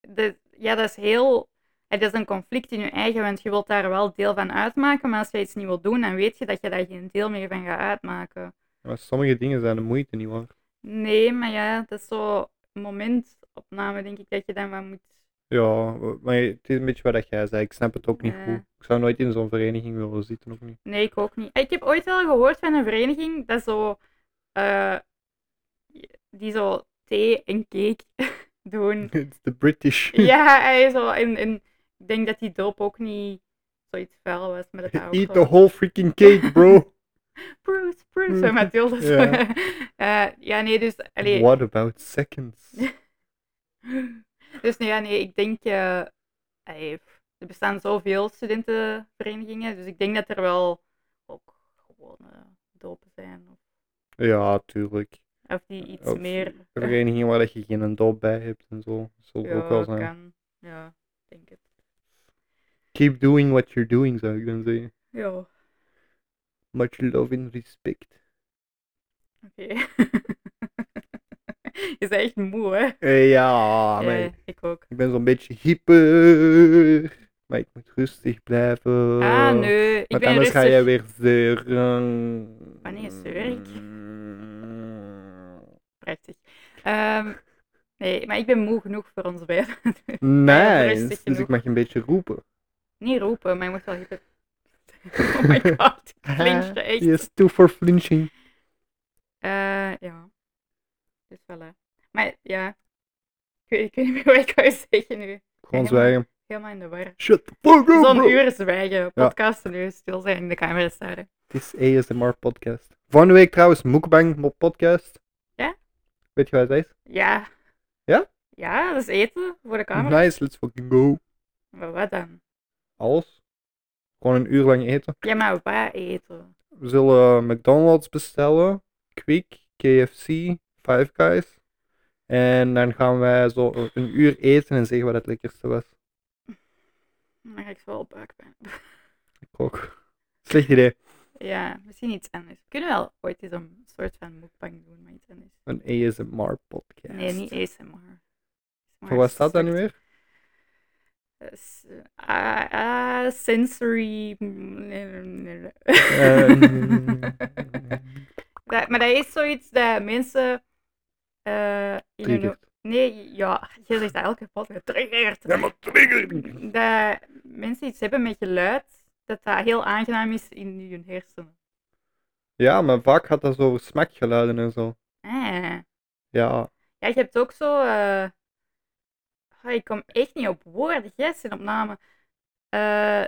S2: dat- ja, dat is heel. Het is een conflict in je eigen, want je wilt daar wel deel van uitmaken. Maar als je iets niet wilt doen, dan weet je dat je daar geen deel meer van gaat uitmaken.
S1: Maar sommige dingen zijn de moeite niet hoor.
S2: Nee, maar ja, dat is zo een momentopname, denk ik, dat je dan wat moet.
S1: Ja, maar het is een beetje wat jij zei, ik snap het ook niet
S2: Ja.
S1: goed. Ik zou nooit in zo'n vereniging willen zitten, ook niet.
S2: Nee, ik ook niet. Ik heb ooit wel gehoord van een vereniging dat zo. eh, die zo thee en cake *laughs*
S1: *laughs*
S2: doen.
S1: *laughs* It's the British. *laughs*
S2: Ja, hij zo. En, en ik denk dat die doop ook niet zoiets vuil was, maar dat
S1: *laughs*
S2: dat ook
S1: Eat the
S2: gewoon-
S1: whole freaking cake, bro.
S2: Bruce, Bruce,
S1: *laughs* Bruce.
S2: bij Mathilde. zo. *laughs*
S1: Ja.
S2: Eh, ja, nee, dus... *laughs* Allee,
S1: What about seconds?
S2: *laughs* dus nee, ja, nee, ik denk... eh, allee, pff, er bestaan zoveel studentenverenigingen, dus ik denk dat er wel ook gewone dopen zijn. Of,
S1: Ja, tuurlijk.
S2: of die iets
S1: Of
S2: meer...
S1: verenigingen waar dat je geen doop bij hebt en zo. Zullen
S2: ja,
S1: ook wel zijn.
S2: kan. Ja, ik denk het.
S1: Keep doing what you're doing, zou ik dan zeggen.
S2: Ja,
S1: Much love and respect.
S2: oké. *laughs* Je bent echt moe, hè?
S1: Eh, ja, maar
S2: Ja,
S1: ik-
S2: ik ook.
S1: ik ben zo'n beetje hyper. Maar ik moet rustig blijven.
S2: ah, nee, ik
S1: Want
S2: ben
S1: Eh, anders
S2: rustig.
S1: ga jij weer zeuren.
S2: Wanneer zeur ik? Prachtig. Ehm, nee, maar ik ben moe genoeg voor ons beiden.
S1: Nice.
S2: rustig
S1: Dus
S2: genoeg.
S1: ik mag een beetje roepen.
S2: *laughs* Niet roepen, maar je moet wel hyper... *laughs* Oh
S1: *laughs*
S2: my god, ik flinch echt.
S1: Yes, two for flinching.
S2: Eh, ja. Dus voilà. Maar ja, weet, ik weet niet meer wat ik wou zeggen nu.
S1: Gewoon
S2: Ja,
S1: zwijgen.
S2: Helemaal in de war.
S1: Shut the fuck up,
S2: Zo'n
S1: bro.
S2: uur zwijgen, podcasten, uur stil zijn, in de camera staren.
S1: Het is ASMR podcast. Volgende week trouwens Mukbang Mop podcast.
S2: Ja?
S1: Weet je wat het is?
S2: Ja.
S1: Ja?
S2: Ja, dat is eten voor de camera.
S1: Nice, let's fucking go. Mhm.
S2: Maar wat dan?
S1: Alles. Gewoon een uur lang eten.
S2: Ja, maar waar eten?
S1: We zullen McDonald's bestellen, Quick, KFC, Five Guys. En dan gaan wij zo een- een uur eten en zeggen wat het lekkerste was.
S2: Dan ga ik zo wel buikpijn.
S1: Ik ook. *laughs* Slecht idee.
S2: *laughs* Ja, misschien iets anders. We kunnen wel ooit eens een soort van mukbang doen, maar iets anders.
S1: Een ASMR podcast.
S2: Nee, niet ASMR.
S1: Voor wat staat dat nu
S2: soort- *laughs*
S1: weer?
S2: Eh, s- ah, ah, sensory. mm,
S1: Eh, mm,
S2: *laughs* dat, maar dat is zoiets dat mensen. eh, in hun-
S1: Triggert.
S2: nee, ja, je zegt dat elke podcast. Triggert.
S1: Ja, maar trigger!
S2: dat mensen iets hebben met geluid, dat dat heel aangenaam is in hun hersenen.
S1: Ja, maar vaak gaat dat zo over smakgeluiden en zo.
S2: Ah.
S1: Ja, *laughs*
S2: Ja, je hebt ook zo. eh, ah, ik kom echt niet op woorden, yes, in opname. Eh,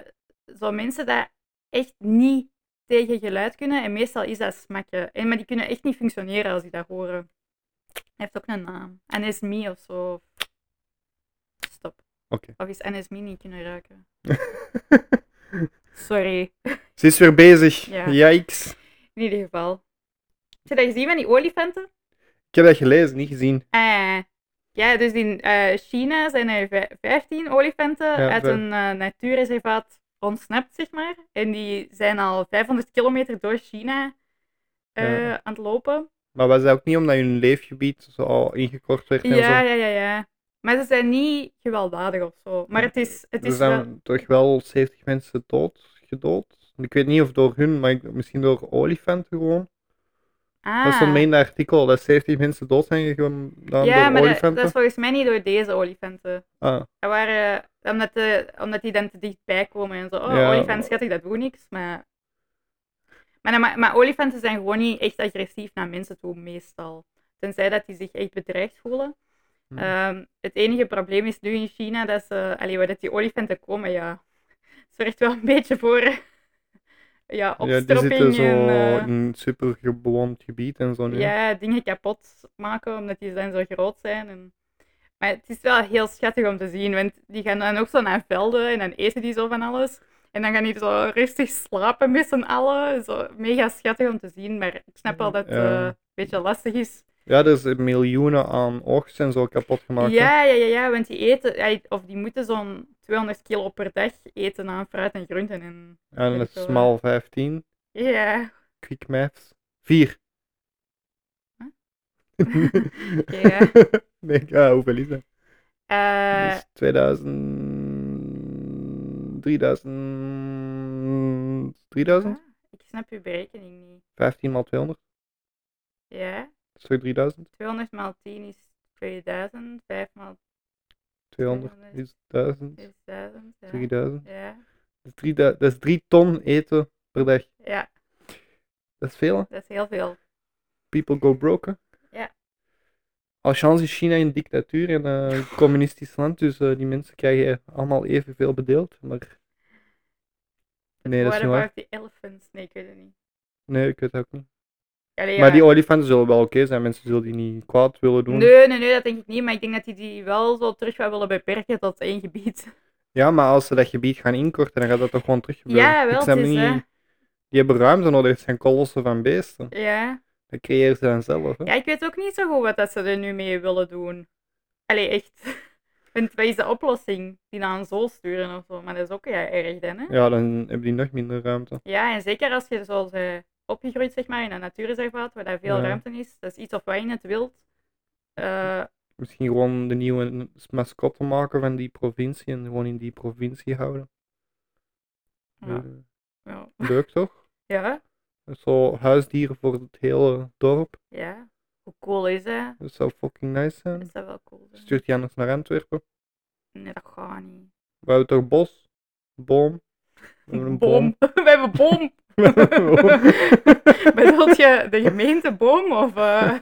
S2: zo mensen dat echt niet tegen geluid kunnen. En meestal is dat smakken. En, maar die kunnen echt niet functioneren als die dat horen. Hij heeft ook een naam. Anesmie of zo. Stop.
S1: Oké.
S2: Of is anesmie niet kunnen ruiken? Sorry.
S1: ze is weer bezig.
S2: Ja.
S1: Yikes.
S2: In ieder geval. Heb je dat gezien van die olifanten?
S1: Ik heb dat gelezen, niet gezien.
S2: Eh, ja, dus in eh, China zijn er vij- 15 olifanten
S1: Ja,
S2: uit
S1: vij-
S2: een eh, natuurreservaat ontsnapt, zeg maar. En die zijn al 500 kilometer door China eh,
S1: Ja.
S2: aan het lopen.
S1: Maar was dat ook niet omdat hun leefgebied zo ingekort werd en
S2: Ja,
S1: zo?
S2: ja, ja, ja. Maar ze zijn niet gewelddadig of zo. Maar het is, het
S1: Er
S2: is
S1: zijn
S2: wel...
S1: toch wel 70 mensen dood, gedood. Ik weet niet of door hun, maar ik- misschien door olifanten gewoon.
S2: Ah.
S1: Dat stond mee in dat artikel, dat 70 mensen dood zijn gegaan
S2: ja,
S1: door
S2: maar dat,
S1: olifanten.
S2: dat is volgens mij niet door deze olifanten.
S1: Ah,
S2: Dat waren, omdat, de, omdat die dan te dichtbij komen en zo. Oh,
S1: Ja.
S2: olifant, schat ik, dat doet niks. Maar, maar, dan- maar, maar olifanten zijn gewoon niet echt agressief naar mensen toe, meestal. Tenzij dat die zich echt bedreigd voelen.
S1: Hmm.
S2: Ehm, het enige probleem is nu in China dat, ze, allee, waar dat die olifanten komen, ja. *laughs* Zorgt wel een beetje voor *laughs* eh, ja,
S1: ja, die
S2: opstropping
S1: zitten zo
S2: en eh,
S1: in een super gebewond gebied en zo nu.
S2: ja, dingen kapot maken omdat die dan zo groot zijn. En... Maar het is wel heel schattig om te zien, want die gaan dan ook zo naar velden en dan eten die zo van alles. En dan gaan die zo rustig slapen met z'n allen. Zo mega schattig om te zien, maar ik snap wel dat het
S1: Ja.
S2: eh, een beetje lastig is.
S1: Ja, er zijn miljoenen aan oogst en zo kapot gemaakt. hè.
S2: Ja, ja, ja, ja, want die eten, ja, of die moeten zo'n 200 kilo per dag eten aan fruit en groenten. En...
S1: En
S2: weet
S1: een
S2: ik wel,
S1: smal 15,
S2: Ja.
S1: quick maths. 4.
S2: Huh? *laughs*
S1: *laughs* ja. Denk, ah, hoeveel is dat?
S2: Eh,
S1: Dus 2000, 3000, 3000?
S2: ah, ik snap je berekening niet.
S1: 15 maal 200,
S2: Ja.
S1: dat is toch 3000?
S2: 200 maal 10 is 2000, 5 maal
S1: 200
S2: 200.
S1: is 1000,
S2: 6000. Ja.
S1: 3000.
S2: Ja.
S1: Dat is, 3, dat is 3 ton eten per dag.
S2: ja,
S1: Dat is veel, hè?
S2: dat is heel veel.
S1: People go broke, hè?
S2: Ja.
S1: Al chance is China een dictatuur en eh,
S2: *laughs*
S1: een communistisch land, dus eh, die mensen krijgen allemaal evenveel bedeeld, maar... Nee, dat is
S2: What
S1: niet waar.
S2: about the elephants? Nee, ik weet het niet.
S1: Nee, ik weet het ook niet.
S2: Allee,
S1: Maar
S2: ja.
S1: die olifanten zullen wel oké zijn, mensen zullen die niet kwaad willen doen.
S2: Nee, nee, nee, dat denk ik niet. Maar ik denk dat die die wel zo terug wel willen beperken tot één gebied.
S1: Ja, maar als ze dat gebied gaan inkorten, dan gaat dat toch gewoon terug gebeuren.
S2: *laughs* Ja, wel,
S1: Ik snap
S2: het is,
S1: niet...
S2: hè.
S1: Die hebben ruimte nodig, het zijn kolossen van beesten.
S2: Ja.
S1: Dat creëren ze dan zelf, hè.
S2: ja, ik weet ook niet zo goed wat dat ze er nu mee willen doen. Allee, echt. *laughs* Want wat is de oplossing? Die naar een zool sturen of zo. Maar dat is ook ja, erg dan, hè?
S1: Ja, dan hebben die nog minder ruimte.
S2: Ja, en zeker als je zoals eh, opgegroeid zeg maar, in een natuurreservaat, waar daar veel
S1: Ja.
S2: ruimte is, dat is iets of wat in het wild. Eh,
S1: Misschien gewoon de nieuwe mascotte maken van die provincie en gewoon in die provincie houden.
S2: ja,
S1: Eh,
S2: ja.
S1: Leuk toch?
S2: ja,
S1: Zo huisdieren voor het hele dorp.
S2: ja. Hoe cool is dat?
S1: Dat zou fucking nice zijn.
S2: Is dat wel cool? hè?
S1: Stuurt die anders naar Antwerpen.
S2: Nee, dat gaat niet.
S1: We hebben toch bos? Boom? We hebben een boom. *laughs*
S2: *laughs* We hebben boom. *laughs* Bedoelt je de *laughs* gemeenteboom of... eh?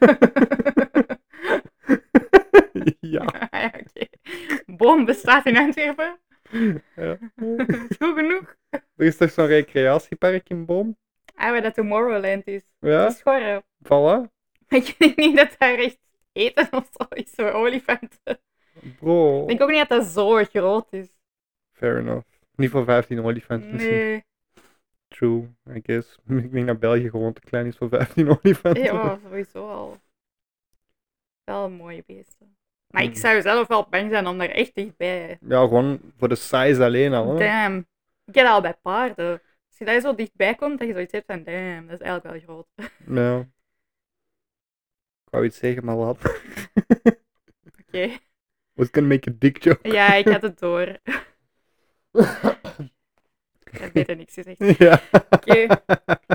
S1: *laughs* ja.
S2: Ah, ja, boom bestaat in Antwerpen. *laughs*
S1: Ja.
S2: Dat is goed genoeg.
S1: Er is toch zo'n recreatiepark in Boom?
S2: Ah, waar dat Tomorrowland is. Dat
S1: Ja,
S2: is Schorre. *laughs*
S1: voilà.
S2: Maar Ik denk niet dat daar echt eten of zo is voor olifanten.
S1: Bro,
S2: Ik denk ook niet dat dat zo groot is.
S1: fair enough. Niet voor 15 olifanten misschien. *laughs*
S2: Nee.
S1: True, I guess. *laughs* Ik denk dat België gewoon te klein is voor 15 olifanten.
S2: Ja, maar sowieso al. Wel mooie beesten. Maar ik
S1: Mhm.
S2: zou zelf wel bang zijn om daar echt dichtbij.
S1: Ja, gewoon voor de size alleen al. hè.
S2: Damn. Ik heb dat al bij paarden. Als je daar zo dichtbij komt, dat je zoiets hebt van damn, dat is eigenlijk wel groot. *laughs*
S1: Ja. Ik wou iets zeggen, maar laat.
S2: Oké.
S1: *laughs* was gonna make a dick joke. *laughs*
S2: Ja, ik had het door. Ik heb beter niks gezegd.
S1: *laughs* ja.
S2: Oké.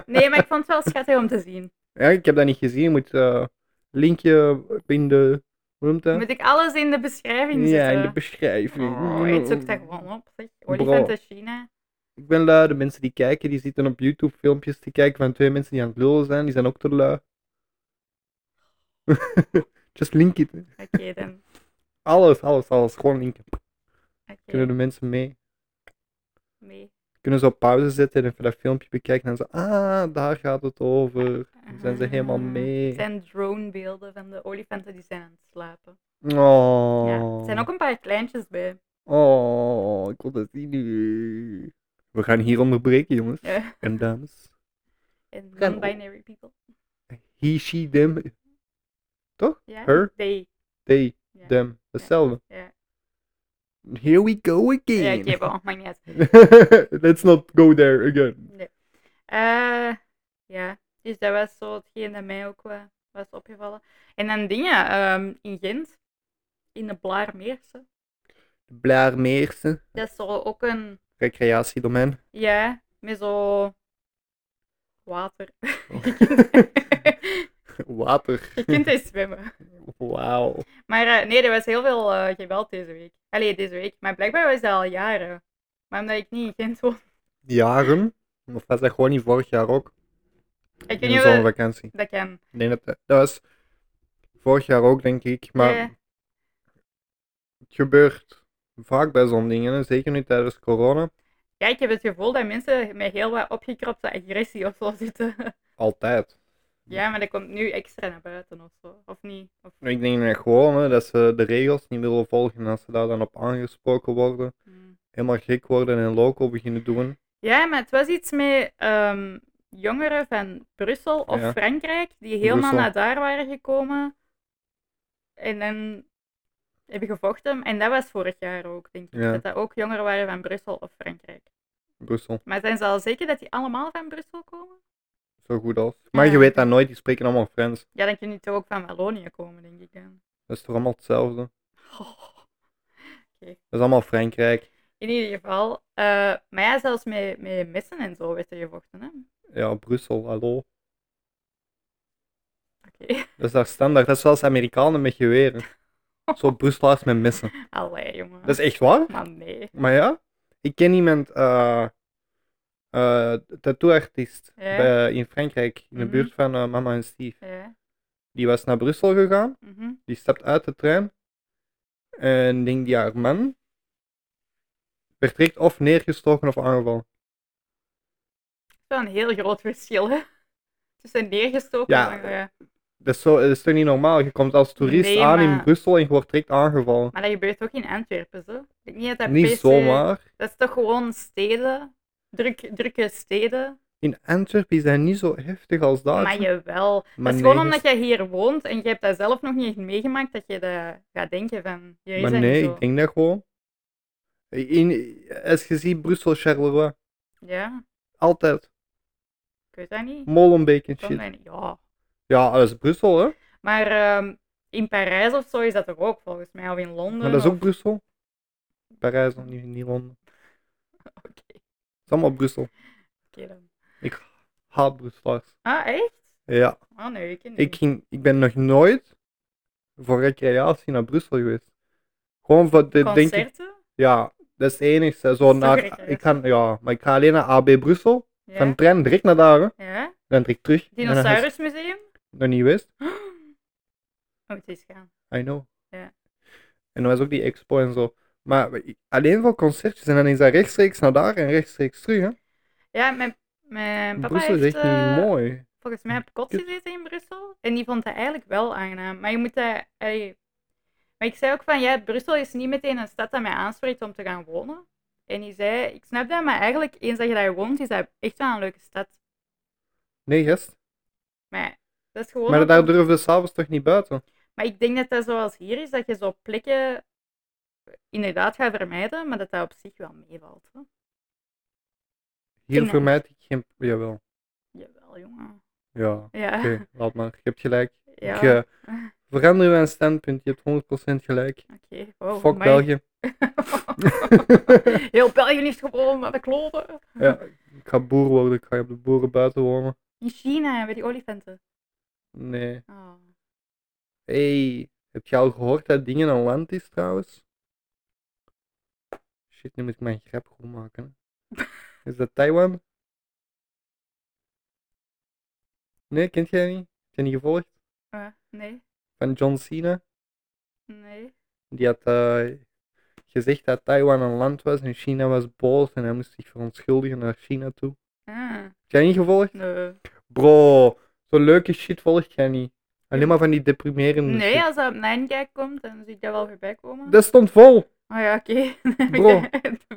S2: Nee, maar ik vond het wel schattig om te zien.
S1: ja, ik heb dat niet gezien. Je moet eh, linkje in de... Hoe noemt dat?
S2: Moet ik alles in de beschrijving
S1: Ja,
S2: zetten?
S1: in de beschrijving.
S2: Oh, ik zoek dat gewoon op. zeg. Olifanten China.
S1: Ik ben lui, de mensen die kijken, die zitten op YouTube filmpjes te kijken van twee mensen die aan het lullen zijn, die zijn ook te lui. *laughs* Just link it.
S2: Oké dan.
S1: Alles, alles, alles. Gewoon linken.
S2: Oké.
S1: Kunnen de mensen mee.
S2: Nee.
S1: Kunnen ze op pauze zetten en even dat filmpje bekijken en ze, ah, daar gaat het over. Dan zijn ze helemaal
S2: Ah.
S1: mee.
S2: Het zijn dronebeelden van de olifanten die zijn aan het slapen.
S1: Oh.
S2: Ja, er zijn ook een paar kleintjes bij.
S1: Oh, ik wil dat zien nu. We gaan hier onderbreken, jongens
S2: Ja.
S1: en dames.
S2: En
S1: Zijn-
S2: non-binary people.
S1: He, she, them,
S2: Ja?
S1: Her?
S2: They.
S1: they,
S2: Ja.
S1: them. Hetzelfde.
S2: Ja.
S1: Here we go again.
S2: Ja, ik heb al, maakt niet uit.
S1: *laughs* Let's not go there again.
S2: Nee. Eh, ja, dus dat was zo hetgeen dat mij ook wa- was opgevallen. En dan dingen ehm, in Gent, in de Blaarmeerse.
S1: Blaarmeerse,
S2: Dat is zo ook een, *laughs*
S1: recreatiedomein.
S2: ja, met zo water. *laughs*
S1: Water.
S2: Je kunt eens zwemmen.
S1: Wauw.
S2: Maar eh, nee, er was heel veel eh, geweld deze week. Allee, deze week. Maar blijkbaar was dat al jaren. Maar omdat ik niet in Gent woon.
S1: Jaren? Of was dat gewoon niet vorig jaar ook?
S2: Ik weet
S1: In de
S2: niet of dat-
S1: zomervakantie.
S2: dat kan.
S1: Ik denk dat dat dat was vorig jaar ook, denk ik. Maar
S2: Ja.
S1: het gebeurt vaak bij zo'n dingen. hè. Zeker nu tijdens corona.
S2: Ja, ik heb het gevoel dat mensen met heel wat opgekropte agressie of zo zitten.
S1: Altijd.
S2: Ja, maar dat komt nu extra naar buiten of zo. Of niet? Of...
S1: Ik denk dat gewoon hè, dat ze de regels niet willen volgen. En als ze daar dan op aangesproken worden,
S2: Hmm.
S1: helemaal gek worden en loco beginnen doen.
S2: Ja, maar het was iets met ehm, jongeren van Brussel of
S1: Ja.
S2: Frankrijk die helemaal
S1: Brussel.
S2: naar daar waren gekomen. En dan hebben gevochten. En dat was vorig jaar ook, denk ik.
S1: Ja.
S2: Dat dat ook jongeren waren van Brussel of Frankrijk.
S1: Brussel,
S2: Maar zijn ze al zeker dat die allemaal van Brussel komen?
S1: zo goed als. Maar je
S2: Ja.
S1: weet dat nooit, die spreken allemaal Frans.
S2: Ja, dan kunnen die toch ook van Wallonië komen, denk ik.
S1: *laughs*
S2: dan.
S1: Dat is toch allemaal hetzelfde?
S2: Oh.
S1: Dat is allemaal Frankrijk.
S2: In ieder geval. eh, maar ja, zelfs met, met messen en zo werd er gevochten. Hè?
S1: Ja, Brussel, hallo.
S2: Oké. *laughs*
S1: Dat is daar standaard. Dat is zelfs Amerikanen met geweren. Zo Brusselaars met messen.
S2: Allee, jongen.
S1: Dat is echt waar?
S2: Maar nee.
S1: Maar ja, ik ken iemand, eh eh tattooartiest
S2: Ja.
S1: bij- in Frankrijk, in de
S2: Mhm.
S1: buurt van eh, Mama en Steve.
S2: Ja.
S1: Die was naar Brussel gegaan,
S2: mhm.
S1: die stapt uit de trein en denk die haar man werd direct of neergestoken of aangevallen.
S2: Dat is wel een heel groot verschil, hè? Tussen neergestoken
S1: Ja,
S2: en... eh,
S1: Dat is, zo, dat is toch niet normaal? Je komt als toerist
S2: Nee,
S1: aan in
S2: maar-
S1: Brussel en je wordt direct aangevallen.
S2: maar dat gebeurt ook in Antwerpen, zo. Ik denk niet dat dat per
S1: Niet
S2: se-
S1: zomaar.
S2: Dat is toch gewoon steden? Druk, drukke steden?
S1: In Antwerpen is dat niet zo heftig als daar.
S2: Maar jawel.
S1: Maar
S2: dat is gewoon
S1: nee,
S2: omdat
S1: je-
S2: jij hier woont en je hebt dat zelf nog niet echt meegemaakt, dat je dat gaat denken van... Hier is
S1: Maar
S2: dat
S1: nee,
S2: niet zo.
S1: ik denk dat gewoon. In, als je ziet Brussel-Charleroi,
S2: Ja,
S1: altijd.
S2: ik weet dat niet.
S1: Molenbeek en
S2: Kan
S1: Mm, shit.
S2: dat niet. Ja.
S1: Ja, dat is Brussel, hè?
S2: Maar ehm, in Parijs of zo is dat er ook, volgens mij. Of in Londen.
S1: Maar dat is ook
S2: of-
S1: Brussel. Parijs nog niet, niet Londen.
S2: *laughs* Oké,
S1: Het is allemaal Brussel.
S2: oké dan.
S1: Haat Brusselaars.
S2: Ah, echt?
S1: Ja,
S2: Ah, nee, ik ken die
S1: ik, ging, ik ben nog nooit voor recreatie naar Brussel geweest. Gewoon voor de,
S2: niet.
S1: denk ik,
S2: Concerten?
S1: ja, dat is het enige. Zo
S2: Dat is toch
S1: naar,
S2: recreatie?
S1: ik ga, ja, maar ik ga alleen naar AB Brussel.
S2: Ja.
S1: Van de trein direct naar daar, hè.
S2: Ja,
S1: dan direct terug. En dan is het
S2: dinosaurusmuseum?
S1: Nog niet geweest.
S2: *gasps* Oh, het is gaan.
S1: I know.
S2: Ja.
S1: En dan was ook die expo en zo. Maar we- alleen voor concertjes. En dan is dat rechtstreeks naar daar en rechtstreeks terug. Hè?
S2: Ja, mijn, mijn papa
S1: Brussel is
S2: heeft
S1: echt
S2: eh,
S1: niet mooi.
S2: volgens mij op kot
S1: Kut.
S2: gezeten in Brussel. En die vond het eigenlijk wel aangenaam. Maar je moet dat... allee. Maar ik zei ook van, ja, Brussel is niet meteen een stad dat mij aanspreekt om te gaan wonen. En die zei, ik snap dat, maar eigenlijk eens dat je daar woont, is dat echt wel een leuke stad.
S1: Nee, gast.
S2: Maar dat is gewoon...
S1: Maar
S2: ook-
S1: daar durfde s'avonds toch niet buiten?
S2: Maar ik denk dat dat zoals hier is, dat je zo plekken eh, inderdaad gaat vermijden, maar dat dat op zich wel meevalt. Hè?
S1: Hier
S2: Nee.
S1: vermijd ik geen... Jawel.
S2: Jawel, jongen.
S1: Ja, oké.
S2: Ja.
S1: Laat maar. Je hebt gelijk.
S2: ja.
S1: Ik
S2: Oké,
S1: eh, verander mijn standpunt. Je hebt 100% gelijk.
S2: wow,
S1: Fuck
S2: amai.
S1: België.
S2: *laughs*
S1: *laughs*
S2: Heel België heeft gewoon maar de kloten.
S1: Ja, ik ga boer worden. Ik ga op de boeren buiten wonen.
S2: In China, bij die olifanten.
S1: Nee.
S2: Oh.
S1: Hey, heb je al gehoord dat dingen een land is trouwens? Shit, nu moet ik mijn grap goed maken. hè. Is dat Taiwan? Nee, kent jij niet? Heb je niet gevolgd?
S2: Eh, nee,
S1: Van John Cena?
S2: nee.
S1: Die had eh, gezegd dat Taiwan een land was en China was boos en hij moest zich verontschuldigen naar China toe.
S2: Ah,
S1: Heb jij niet gevolgd?
S2: nee.
S1: Bro, zo leuke shit volg jij niet. Alleen maar van die deprimerende
S2: Nee,
S1: Hm, shit.
S2: als dat op mijn kijk komt, dan zie ik dat wel voorbij komen.
S1: Dat stond vol.
S2: Oh ja, oké. *laughs*
S1: Bro.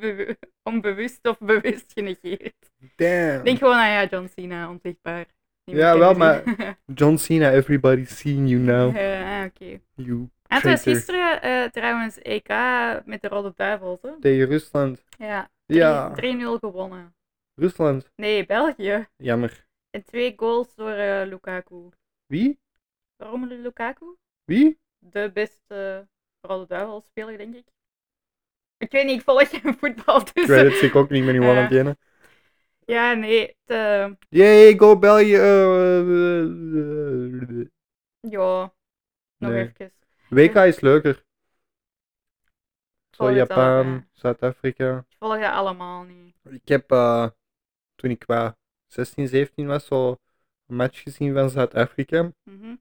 S2: Bewu- Onbewust of bewust genegeerd.
S1: Damn.
S2: Denk gewoon aan ja, John Cena, onzichtbaar. Niet
S1: Ja,
S2: meer
S1: wel,
S2: kunnen *laughs* zien.
S1: John Cena, everybody's seeing you now.
S2: Eh, ah, oké.
S1: You
S2: En het was
S1: traitor.
S2: gisteren eh, trouwens EK met de Rode Duivels. Hè?
S1: Tegen Rusland.
S2: Ja,
S1: Ja,
S2: 3-0 gewonnen.
S1: Rusland.
S2: Nee, België.
S1: Jammer.
S2: En twee goals door eh, Lukaku.
S1: Wie?
S2: Romelu Lukaku?
S1: Wie?
S2: De beste Rode Duivelspeler, denk ik. Ik weet niet, ik volg geen *laughs* voetbal, dus...
S1: Credits ik ook niet meer in
S2: Eh.
S1: aan het kennen.
S2: Ja, nee, het, eh,
S1: Yay, go België. eh, eh, eh, eh.
S2: ja, nog
S1: Nee.
S2: even.
S1: WK is leuker. Zo
S2: Volg het al,
S1: Japan,
S2: ja.
S1: Zuid-Afrika.
S2: Ik volg dat allemaal niet.
S1: Ik heb eh, toen ik qua 16, 17 was, zo een match gezien van Zuid-Afrika.
S2: Mhm.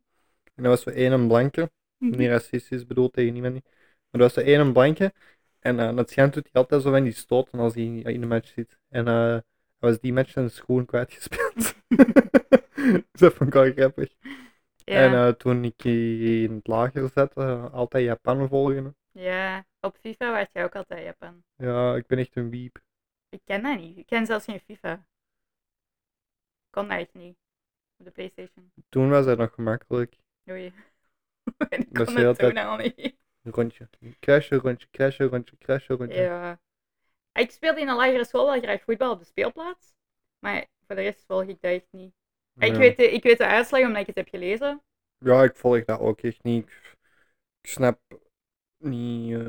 S1: En dat was zo één een blanke. niet racistisch bedoeld tegen niemand. niet. Maar dat was de ene blanke. En eh, dat schijnt doet hij altijd zo van die stoten als hij in- in de match zit. En eh, hij was die match zijn schoen kwijtgespeeld. *laughs* dus dat vond ik wel grappig.
S2: *laughs* Ja,
S1: En eh, toen ik in het lager zat, eh, altijd Japan volgen.
S2: ja, op FIFA was jij ook altijd Japan.
S1: Ja, ik ben echt een wiep.
S2: Ik ken dat niet. Ik ken zelfs geen FIFA. Ik kon dat echt niet. Op de Playstation.
S1: Toen was dat nog gemakkelijk.
S2: Oei. *laughs* ik
S1: Dat
S2: kon
S1: is heel
S2: het
S1: tijd-
S2: toen al niet.
S1: Een rondje. Crashen, rondje, crashen, rondje, crashen, rondje.
S2: Ja. Ik speelde in een lagere school wel graag voetbal op de speelplaats. Maar voor de rest volg ik dat echt niet. Ik,
S1: Ja.
S2: weet de, ik weet de uitslag omdat ik het heb gelezen.
S1: Ja, ik volg dat ook echt niet. Ik, ik snap niet eh,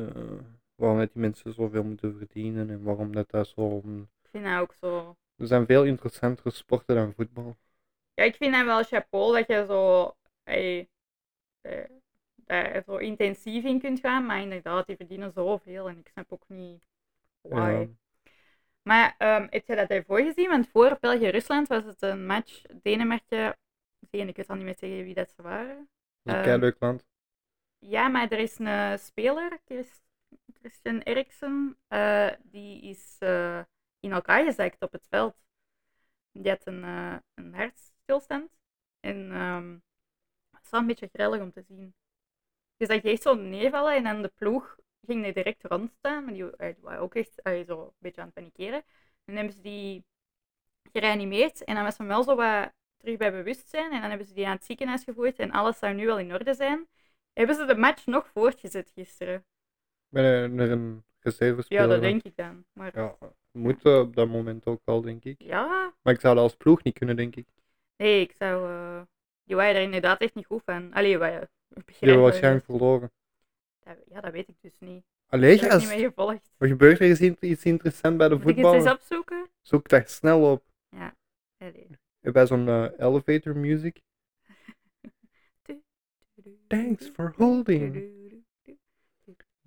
S1: waarom dat die mensen zoveel moeten verdienen en waarom dat dat zo...
S2: Ik vind dat ook zo...
S1: Er zijn veel interessantere sporten dan voetbal.
S2: Ja, ik vind dat wel chapeau dat je zo... ey, eh, daar zo intensief in kunt gaan. Maar inderdaad, die verdienen zoveel. En ik snap ook niet... Why?
S1: Ja.
S2: Maar ehm heb je dat daarvoor gezien? Want voor België-Rusland was het een match Denemarken. tegen- Ik weet al niet meer tegen wie dat ze waren.
S1: Dat is
S2: Ehm,
S1: een leuk land.
S2: Ja, maar er is een speler, Chris- Christian Eriksen, eh, die is eh, in elkaar gezakt op het veld. Die had een, eh, een hartstilstand. En ehm, het was wel een beetje grellig om te zien. Dus dat je echt zo neervallen en dan de ploeg ging er direct rond staan. Maar die, wa- die waren ook echt eh, zo een beetje aan het panikeren. En dan hebben ze die gereanimeerd en dan was hem wel zo wat terug bij bewustzijn. En dan hebben ze die aan het ziekenhuis gevoerd en alles zou nu wel in orde zijn. Hebben ze de match nog voortgezet gisteren?
S1: Ik ben er- er een reserve
S2: Ja, dat denk ik dan. Maar ja.
S1: Ja, moet eh, op dat moment ook wel, denk ik.
S2: ja.
S1: Maar ik zou dat als ploeg niet kunnen, denk ik.
S2: Nee, ik zou. eh die waren er inderdaad echt niet goed van. Allee, wij.
S1: Die hebben waarschijnlijk verloren.
S2: Ja, dat weet ik dus niet.
S1: Allee,
S2: Ik heb het niet
S1: gast.
S2: meer gevolgd.
S1: Wat gebeurt er? Is iets- iets interessants bij de
S2: Moet ik het eens
S1: voetbal?
S2: opzoeken?
S1: Zoek daar snel op.
S2: Allee.
S1: Bij zo'n eh, elevator music. Thanks for holding.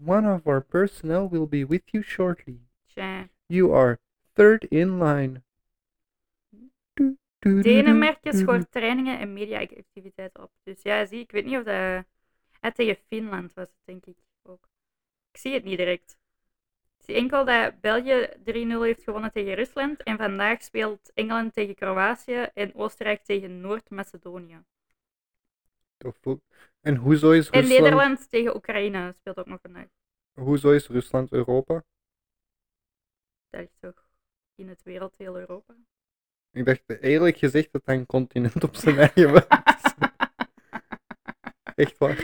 S1: One of our personnel will be with you shortly.
S2: Tja.
S1: You are third in line. Du- du- du- du-
S2: Denemarken
S1: du- du-
S2: schort trainingen en mediaactiviteiten op. Dus ja, zie, ik eh, weet niet of dat. Ah, tegen Finland was het, denk ik ook. Ik zie het niet direct. zie enkel dat België 3-0 heeft gewonnen tegen Rusland. En vandaag speelt Engeland tegen Kroatië en Oostenrijk tegen Noord-Macedonië.
S1: The fuck? En hoezo is
S2: En
S1: Rusland,
S2: Nederland tegen Oekraïne speelt ook nog vandaag.
S1: hoezo is Rusland Europa?
S2: Dat is toch in het wereld heel Europa.
S1: Ik dacht eerlijk gezegd dat dat een continent op zijn eigen
S2: *laughs*
S1: was. Echt waar.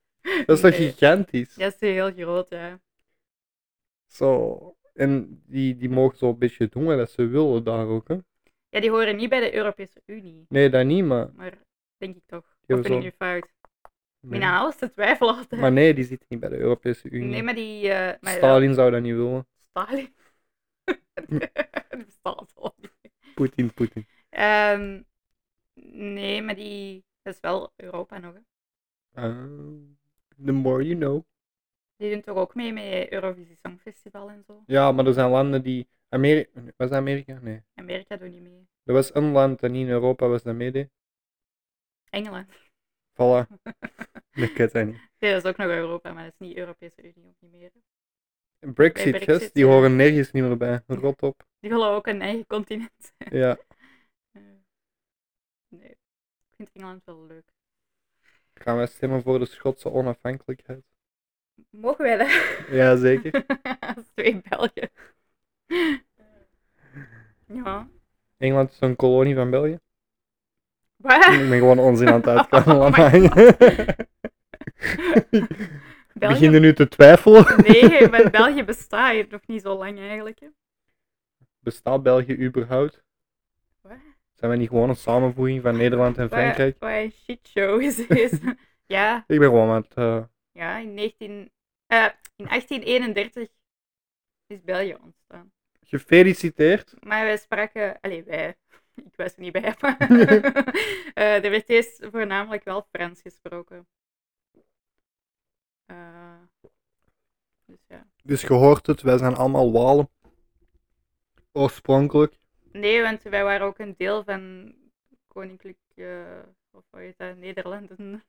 S1: *laughs* Dat is toch
S2: Nee.
S1: gigantisch?
S2: Dat is heel groot, ja.
S1: Zo. En die, die mogen zo een beetje doen wat ze willen daar ook. Hè?
S2: Ja, die horen niet bij de Europese Unie.
S1: Nee, dat niet, maar.
S2: Maar denk ik toch.
S1: Ja,
S2: Of ben ik
S1: zo.
S2: nu fout? Ik
S1: Nee.
S2: ben aan alles te twijfelen altijd.
S1: Maar nee, die zitten niet bij de Europese Unie.
S2: Nee, maar die... eh, maar ja,
S1: Stalin zou dat niet willen. *laughs*
S2: Stalin. dat bestaat al niet.
S1: Poetin, Poetin.
S2: Ehm, nee, maar die... Dat is wel Europa nog, hè.
S1: Ah, the more you know.
S2: Die doen toch ook mee met Eurovisie Songfestival en zo.
S1: Ja, maar er zijn landen die. Amerika. Was dat Amerika? Nee.
S2: Amerika doet niet mee.
S1: Er was een land dat niet in Europa was dat meedeed.
S2: Engeland. *laughs*
S1: Voilà. Dat kan zijn niet.
S2: Nee, dat is ook nog Europa, maar dat is niet Europese Unie ook niet meer. hè.
S1: Brexit,
S2: Brexit,
S1: gast, die
S2: ja.
S1: horen nergens niet meer bij.
S2: *laughs*
S1: Rot op.
S2: Die willen ook een eigen continent.
S1: Ja.
S2: Eh, *laughs* nee. Ik vind Engeland wel leuk.
S1: Gaan we stemmen voor de Schotse onafhankelijkheid?
S2: Mogen wij dat?
S1: Ja, zeker.
S2: *laughs* Als twee Belgen. Ja.
S1: *laughs* Engeland is een kolonie van België.
S2: *laughs*
S1: Ik
S2: Waar?
S1: ben gewoon onzin aan het uitkomen.
S2: Oh my
S1: Lamijn. *laughs* Ik
S2: België?
S1: begin er nu te twijfelen. *laughs*
S2: Nee, maar België bestaat hier nog niet zo lang eigenlijk. hè.
S1: Bestaat België überhaupt?
S2: Waar?
S1: Zijn wij niet gewoon een samenvoeging van Nederland en
S2: Waar,
S1: Frankrijk?
S2: waar een shitshow is deze. *laughs* ja,
S1: Ik ben gewoon aan het... eh,
S2: ja in, 19, eh, in 1831 is België ontstaan.
S1: gefeliciteerd.
S2: Maar wij spraken... Allee, wij. *laughs* Ik was er niet bij. *laughs*
S1: *laughs*
S2: Maar Eh, er werd eerst voornamelijk wel Frans gesproken. Eh, dus ja.
S1: Dus je hoort het, wij zijn allemaal Walen. Oorspronkelijk.
S2: Nee, want wij waren ook een deel van Koninklijk, eh, of hoe heet dat, Nederlanden.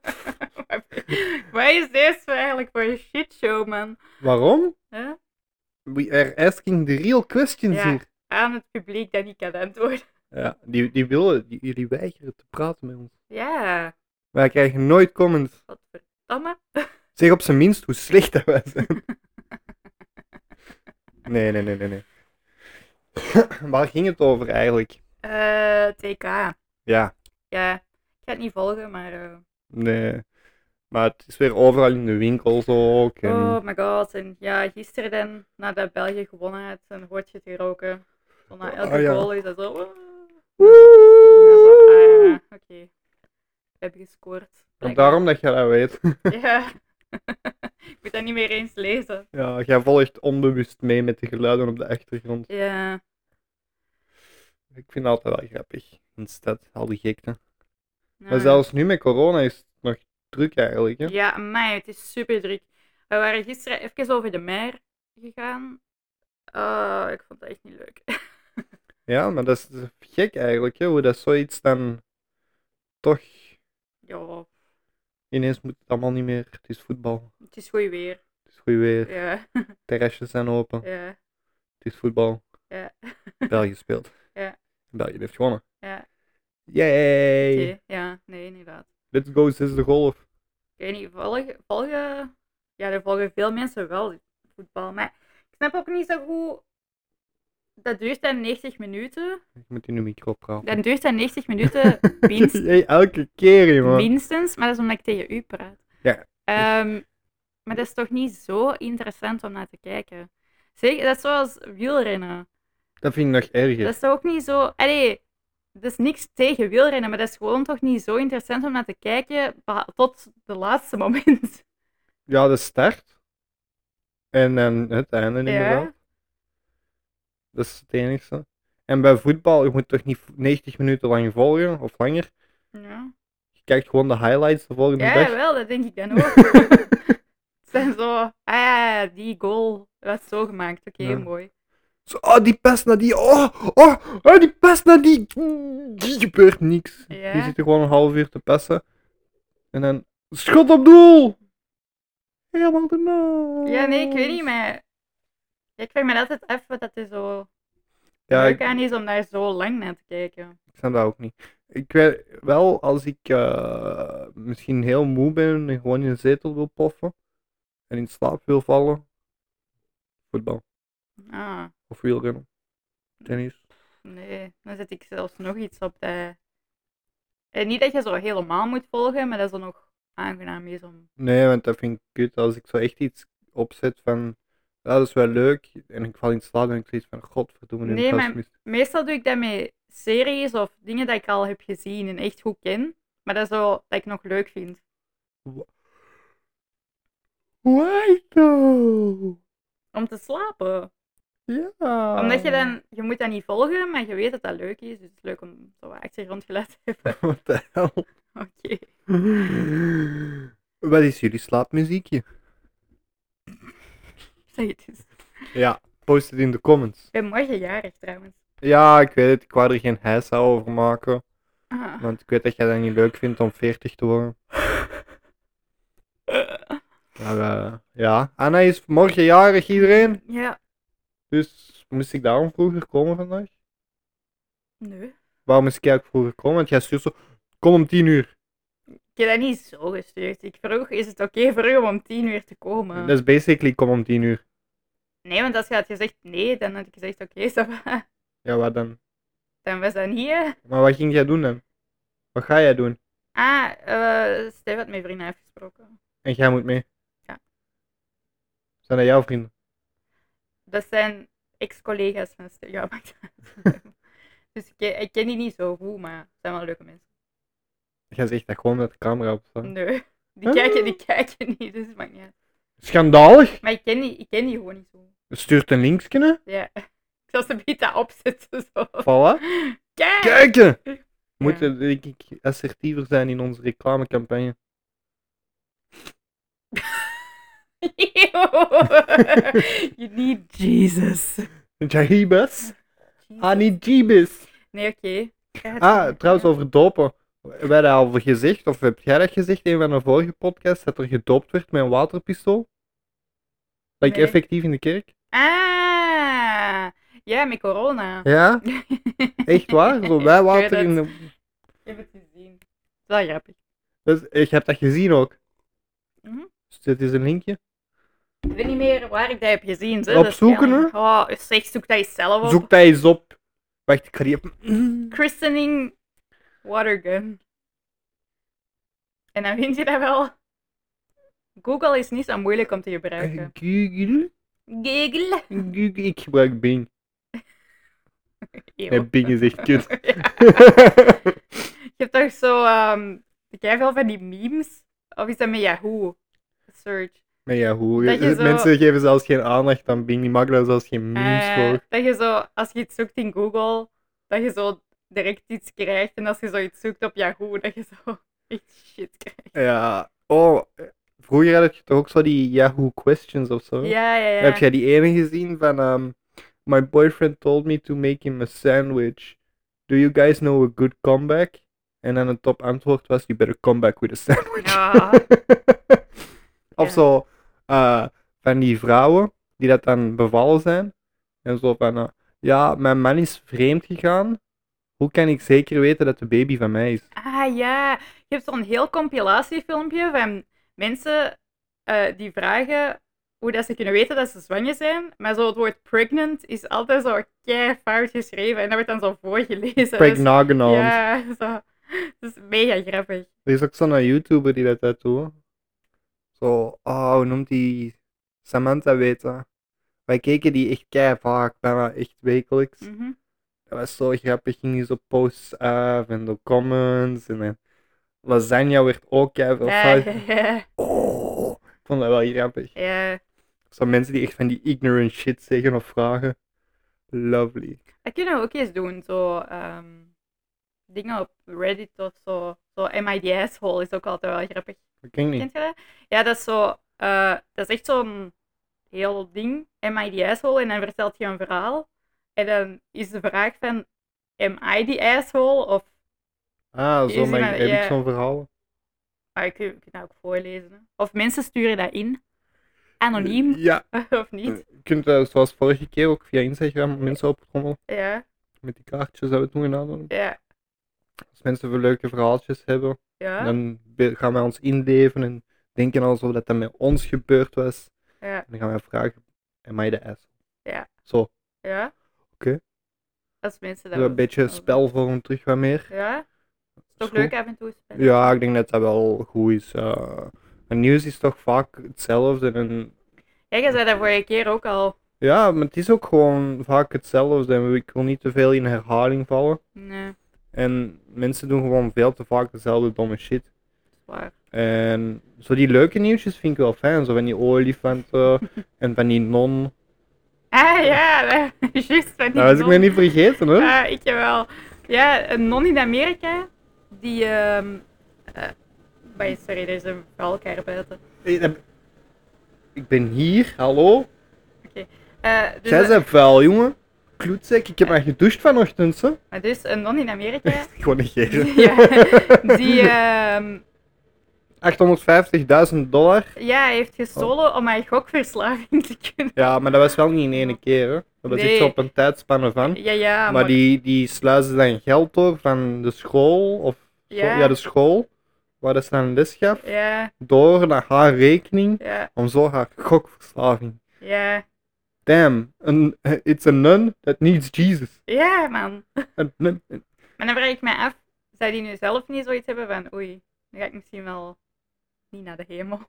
S2: *laughs* Wat is dit eigenlijk voor een shitshow, man?
S1: Waarom?
S2: Hè?
S1: We are asking the real questions
S2: Ja.
S1: hier.
S2: Aan het publiek dat niet kan antwoorden.
S1: Ja, die, die willen, die, jullie weigeren te praten met ons.
S2: Ja,
S1: Wij krijgen nooit comments.
S2: wat verdamme.
S1: Zeg op zijn minst hoe slecht dat wij
S2: *laughs*
S1: zijn. Nee, nee, nee, nee. *clears throat* nee. Waar ging het over eigenlijk?
S2: Eh, TK.
S1: Ja,
S2: Ja, ik ga het niet volgen, maar... eh,
S1: nee. Maar het is weer overal in de winkel zo ook. En...
S2: Oh my god, en ja, gisteren dan, nadat België gewonnen had, een hoortje te roken. Zo na elke
S1: Ah, ja.
S2: goal is dat zo... "Wow." Ja, zo, ah,
S1: Woe!
S2: ja, oké. We hebben gescoord.
S1: *laughs* En daarom dat jij dat weet.
S2: *laughs*
S1: *laughs*
S2: Ja. *laughs* ik moet dat niet meer eens lezen.
S1: Ja, jij volgt onbewust mee met de geluiden op de achtergrond.
S2: Ja.
S1: Ik vind dat altijd wel grappig. In de stad, al die gekte.
S2: nou
S1: Maar
S2: ja.
S1: zelfs nu met corona is het nog druk eigenlijk. Hè?
S2: Ja, mij, het is super druk. We waren gisteren even over de mer gegaan. Eh, ik vond dat echt niet leuk. *laughs*
S1: Ja, maar dat is, dat is gek eigenlijk, hè, hoe dat zoiets dan toch
S2: ja,
S1: ineens moet het allemaal niet meer. Het is voetbal,
S2: het is goed weer.
S1: het is goed weer,
S2: Ja,
S1: terrasjes zijn open,
S2: ja,
S1: het is voetbal.
S2: ja.
S1: België speelt.
S2: Ja.
S1: België heeft gewonnen.
S2: Ja,
S1: Yay!
S2: oké. ja, nee, inderdaad.
S1: Let's go, zesde de golf.
S2: Ik weet niet, volgen, volgen... Ja, er volgen veel mensen wel voetbal. Maar ik snap ook niet zo goed... Dat duurt dan 90 minuten.
S1: Ik moet in de micro praten.
S2: Dan duurt dat 90
S1: *laughs*
S2: minuten winst,
S1: Hey, elke keer, jongen.
S2: minstens. Maar dat is omdat ik tegen u praat.
S1: Ja.
S2: Ehm, maar dat is toch niet zo interessant om naar te kijken. Zeker, dat is zoals wielrennen.
S1: Dat vind ik nog erger.
S2: Dat is toch ook niet zo... Allee, dat is niks tegen wielrennen, maar dat is gewoon toch niet zo interessant om naar te kijken beha- tot de laatste moment. *laughs*
S1: Ja, de start. En dan het einde inderdaad. Dat is het enigste. En bij voetbal, je moet toch niet 90 minuten lang volgen, of langer.
S2: Ja.
S1: Je kijkt gewoon de highlights de volgende
S2: Ja,
S1: dag.
S2: wel, dat denk ik dan
S1: *laughs*
S2: ook. *laughs* Het zijn zo, ah ja, die goal was zo gemaakt. Oké,
S1: Ja.
S2: mooi.
S1: Zo, oh, die pas naar die. Oh, oh, oh, die pas naar die. Die gebeurt niks.
S2: Ja.
S1: Die zit er gewoon een half uur te passen. En dan. Schot op doel! Helemaal de naam.
S2: Ja, nee, ik weet niet, maar... Ik vind me altijd even wat dat er zo
S1: Ja,
S2: leuk
S1: ik,
S2: aan is om daar zo lang naar te kijken.
S1: ik snap dat ook niet. Ik weet wel, als ik eh, misschien heel moe ben en gewoon in een zetel wil poffen en in slaap wil vallen, voetbal
S2: Ah,
S1: of wielrennen, tennis.
S2: nee. Dan zet ik zelfs nog iets op dat... En niet dat je zo helemaal moet volgen, maar dat is dan nog aangenaam is om...
S1: Nee, want dat vind ik kut als ik zo echt iets opzet van, ja, dat is wel leuk en ik val in slaap en ik zoiets van, godverdomme, nu heb ik
S2: Nee,
S1: dat
S2: maar-
S1: gemist.
S2: Meestal doe ik dat met series of dingen dat ik al heb gezien en echt goed ken. Maar dat is zo dat ik nog leuk vind.
S1: Why though?
S2: Om te slapen.
S1: Ja.
S2: Omdat je
S1: *laughs*
S2: dan... Je moet dat niet volgen, maar je weet dat dat leuk is. Dus het is leuk om zo wat achtergrondgeluid te *laughs* hebben.
S1: Wat de hel?
S2: Oké. *laughs*
S1: Wat is jullie slaapmuziekje?
S2: Zeg het eens.
S1: Ja, post het in de comments.
S2: Ik ben morgen jarig trouwens.
S1: Ja, ik weet het, ik wou er geen heisa over maken.
S2: Ah.
S1: Want ik weet dat jij dat niet leuk vindt om 40 te worden. Maar eh, ja, Anna is morgen jarig iedereen.
S2: Ja,
S1: Dus moest ik daarom vroeger komen vandaag?
S2: nee.
S1: Waarom is ik ook vroeger komen? Want jij stuurt zo, kom om 10 uur.
S2: Ik heb dat niet zo gestuurd. Ik vroeg, is het oké voor u om om tien uur te komen?
S1: Dat is basically kom om 10 uur.
S2: Nee, want als je had gezegd nee, dan had ik gezegd oké, *laughs* ça va.
S1: Ja, wat dan?
S2: Dan was dat niet, hè.
S1: Maar wat ging jij doen dan? Wat ga jij doen?
S2: Ah, eh Stef had mijn vrienden afgesproken.
S1: En jij moet mee?
S2: Ja.
S1: Zijn dat jouw vrienden?
S2: Dat zijn ex-collega's van Stef. Ja, *laughs* maakt niet uit. Dus ik, ken- ik ken die niet zo goed, maar het zijn wel leuke mensen.
S1: Jij zegt dat gewoon dat de camera op staat.
S2: Nee, die
S1: Ah.
S2: kijken, die kijken niet, dus het maakt niet uit.
S1: Schandalig!
S2: Maar ik ken die, ik ken die gewoon niet zo goed.
S1: Stuurt een linkje, hè?
S2: Ja. *laughs* Ik zal ze een beetje opzetten, zo.
S1: Voilà.
S2: Kijk!
S1: Kijken! We
S2: Ja.
S1: moeten, denk ik, assertiever zijn in onze reclamecampagne.
S2: *laughs* Ew. you need Jesus.
S1: Jahibas? Anijibis!
S2: Nee, oké. Ik ga het
S1: Ah,
S2: doen.
S1: trouwens, over dopen. We hebben dat al gezegd, of heb jij dat gezegd in een van de vorige podcasts, dat er gedoopt werd met een waterpistool? Like
S2: Nee.
S1: effectief in de kerk?
S2: Ah, ja, met corona.
S1: Ja, echt waar?
S2: *laughs*
S1: Zo wij water in de...
S2: Ik heb het gezien. Het is wel grappig.
S1: Dus, ik heb dat gezien ook.
S2: Mhm.
S1: Dus dit is een linkje.
S2: Ik weet niet meer waar ik dat heb gezien. Zo.
S1: Op
S2: dat is jammer.
S1: zoeken,
S2: Oh, zeg, zoek dat eens zelf op.
S1: Zoek dat eens op. Wacht, ik ga die op-
S2: Christening Watergun. En dan vind je dat wel. Google is niet zo moeilijk om te gebruiken.
S1: Google?
S2: Google.
S1: Google? Ik gebruik Bing.
S2: Eeuw.
S1: Nee, Bing is echt kut.
S2: *laughs* Ja. Je hebt toch zo, ehm ik heb wel van die memes. Of is dat met Yahoo? Search.
S1: *laughs* maar ja, hoe? eh,
S2: Dat je zo-
S1: Mensen geven zelfs geen aandacht aan Bing. Die maken daar zelfs geen memes
S2: Eh,
S1: voor.
S2: dat je zo, als je iets zoekt in Google, dat je zo direct iets krijgt. En als je zoiets zoekt op Yahoo, dat je zo *laughs* echt shit krijgt.
S1: Ja. Oh, vroeger had je toch ook zo die Yahoo Questions of zo?
S2: Ja, ja, ja.
S1: Oh. Heb jij die ene gezien van... ehm, My boyfriend told me to make him a sandwich. Do you guys know a good comeback? En dan het top antwoord was... You better come back with a sandwich.
S2: Ja.
S1: *laughs* of
S2: Ja.
S1: zo eh, van die vrouwen die dat dan bevallen zijn. En zo van, eh, ja, mijn man is vreemd gegaan. Hoe kan ik zeker weten dat de baby van mij is?
S2: Ah ja, je hebt zo'n heel compilatiefilmpje van mensen eh, die vragen hoe dat ze kunnen weten dat ze zwanger zijn. Maar zo het woord pregnant is altijd zo kei fout geschreven en dat wordt dan zo voorgelezen.
S1: Pregnagenant.
S2: Dus, ja, *laughs* zo. Dat is mega grappig.
S1: Er is ook zo'n YouTuber die dat, dat doet. Zo, oh, hoe noemt die? Samantha weet dat. Wij keken die echt kei vaak, bijna echt wekelijks.
S2: Mhm.
S1: Dat was zo grappig. Ging die zo posts af en de comments. En, dan lasagne werd ook kei veel
S2: Ja,
S1: fout.
S2: ja, ja,
S1: Oh, ik vond dat wel grappig.
S2: *laughs* ja.
S1: Zo mensen die echt van die ignorant shit zeggen of vragen. Lovely.
S2: Dat Eh, kunnen we ook eens doen. Zo ehm, dingen op Reddit of zo. Zo Am I the asshole is ook altijd wel grappig.
S1: Dat ken ik niet.
S2: Kent je dat? Ja, dat is zo. eh, dat is echt zo'n heel ding. Am I the asshole? En dan vertelt je een verhaal. En dan is de vraag van. Am I the asshole? Of.
S1: Ah,
S2: Is
S1: zo
S2: iemand-
S1: mijn, heb
S2: ja.
S1: ik zo'n verhaal.
S2: Ah, ik kun je dat ook voorlezen. hè. Of mensen sturen dat in. Anoniem,
S1: Eh, Ja,
S2: *laughs* of niet?
S1: je kunt eh, zoals vorige keer ook via Instagram mensen opkomen
S2: Ja,
S1: met die kaartjes dat we toen gedaan hebben.
S2: ja,
S1: Als mensen voor leuke verhaaltjes hebben,
S2: ja.
S1: dan be- gaan wij ons inleven en denken alsof dat, dat met ons gebeurd was.
S2: Ja.
S1: En dan gaan wij vragen, am I the ass?
S2: Ja.
S1: Zo,
S2: ja.
S1: Oké.
S2: Als mensen dat
S1: een beetje spelvorm terug wat meer.
S2: Ja, is toch
S1: Is
S2: leuk
S1: goed.
S2: af en toe spelen.
S1: Ja, ik denk dat dat wel goed is. eh. het nieuws is toch vaak hetzelfde. En,
S2: Ja, jij zei dat vorige keer ook al.
S1: ja, maar het is ook gewoon vaak hetzelfde. En ik wil niet te veel in herhaling vallen.
S2: Nee,
S1: En mensen doen gewoon veel te vaak dezelfde domme shit.
S2: dat is waar.
S1: En zo die leuke nieuwsjes vind ik wel fijn. Zo van die olifanten
S2: *laughs*
S1: en van die non.
S2: Ah ja, *laughs* dat- juist. van die
S1: Dat was Nou, ik me
S2: non.
S1: niet vergeten hoor.
S2: Ja, ik wel. Ja, een non in Amerika, die... ehm eh, wait, sorry, er is een valkuil buiten.
S1: Ik heb- Ik ben hier, hallo.
S2: Eh, dus,
S1: Jij
S2: eh,
S1: bent vuil, jongen. Kloetzak, ik heb maar gedoucht
S2: *laughs*
S1: vanochtend, hè.
S2: maar dus een non in
S1: *laughs*
S2: Amerika,
S1: Gewoon negeren.
S2: Ja, die ehm,
S1: 850.000 dollar.
S2: ja, heeft gestolen om aan gokverslaving te kunnen.
S1: Ja, maar dat was wel niet in één keer. Hè. Dat was
S2: Nee.
S1: iets op een tijdspanne van.
S2: Ja, ja, maar,
S1: maar die, die sluizen dan geld door van de school, of zo-
S2: Ja.
S1: ja, de school, waar dat ze dan les gaf,
S2: Ja,
S1: door naar haar rekening,
S2: ja,
S1: om zo haar gokverslaving.
S2: ja.
S1: Damn, een, it's a nun that needs Jesus.
S2: Ja, man.
S1: Een nun-
S2: Maar dan vraag ik mij af, zou die nu zelf niet zoiets hebben van oei, dan ga ik misschien wel niet naar de hemel.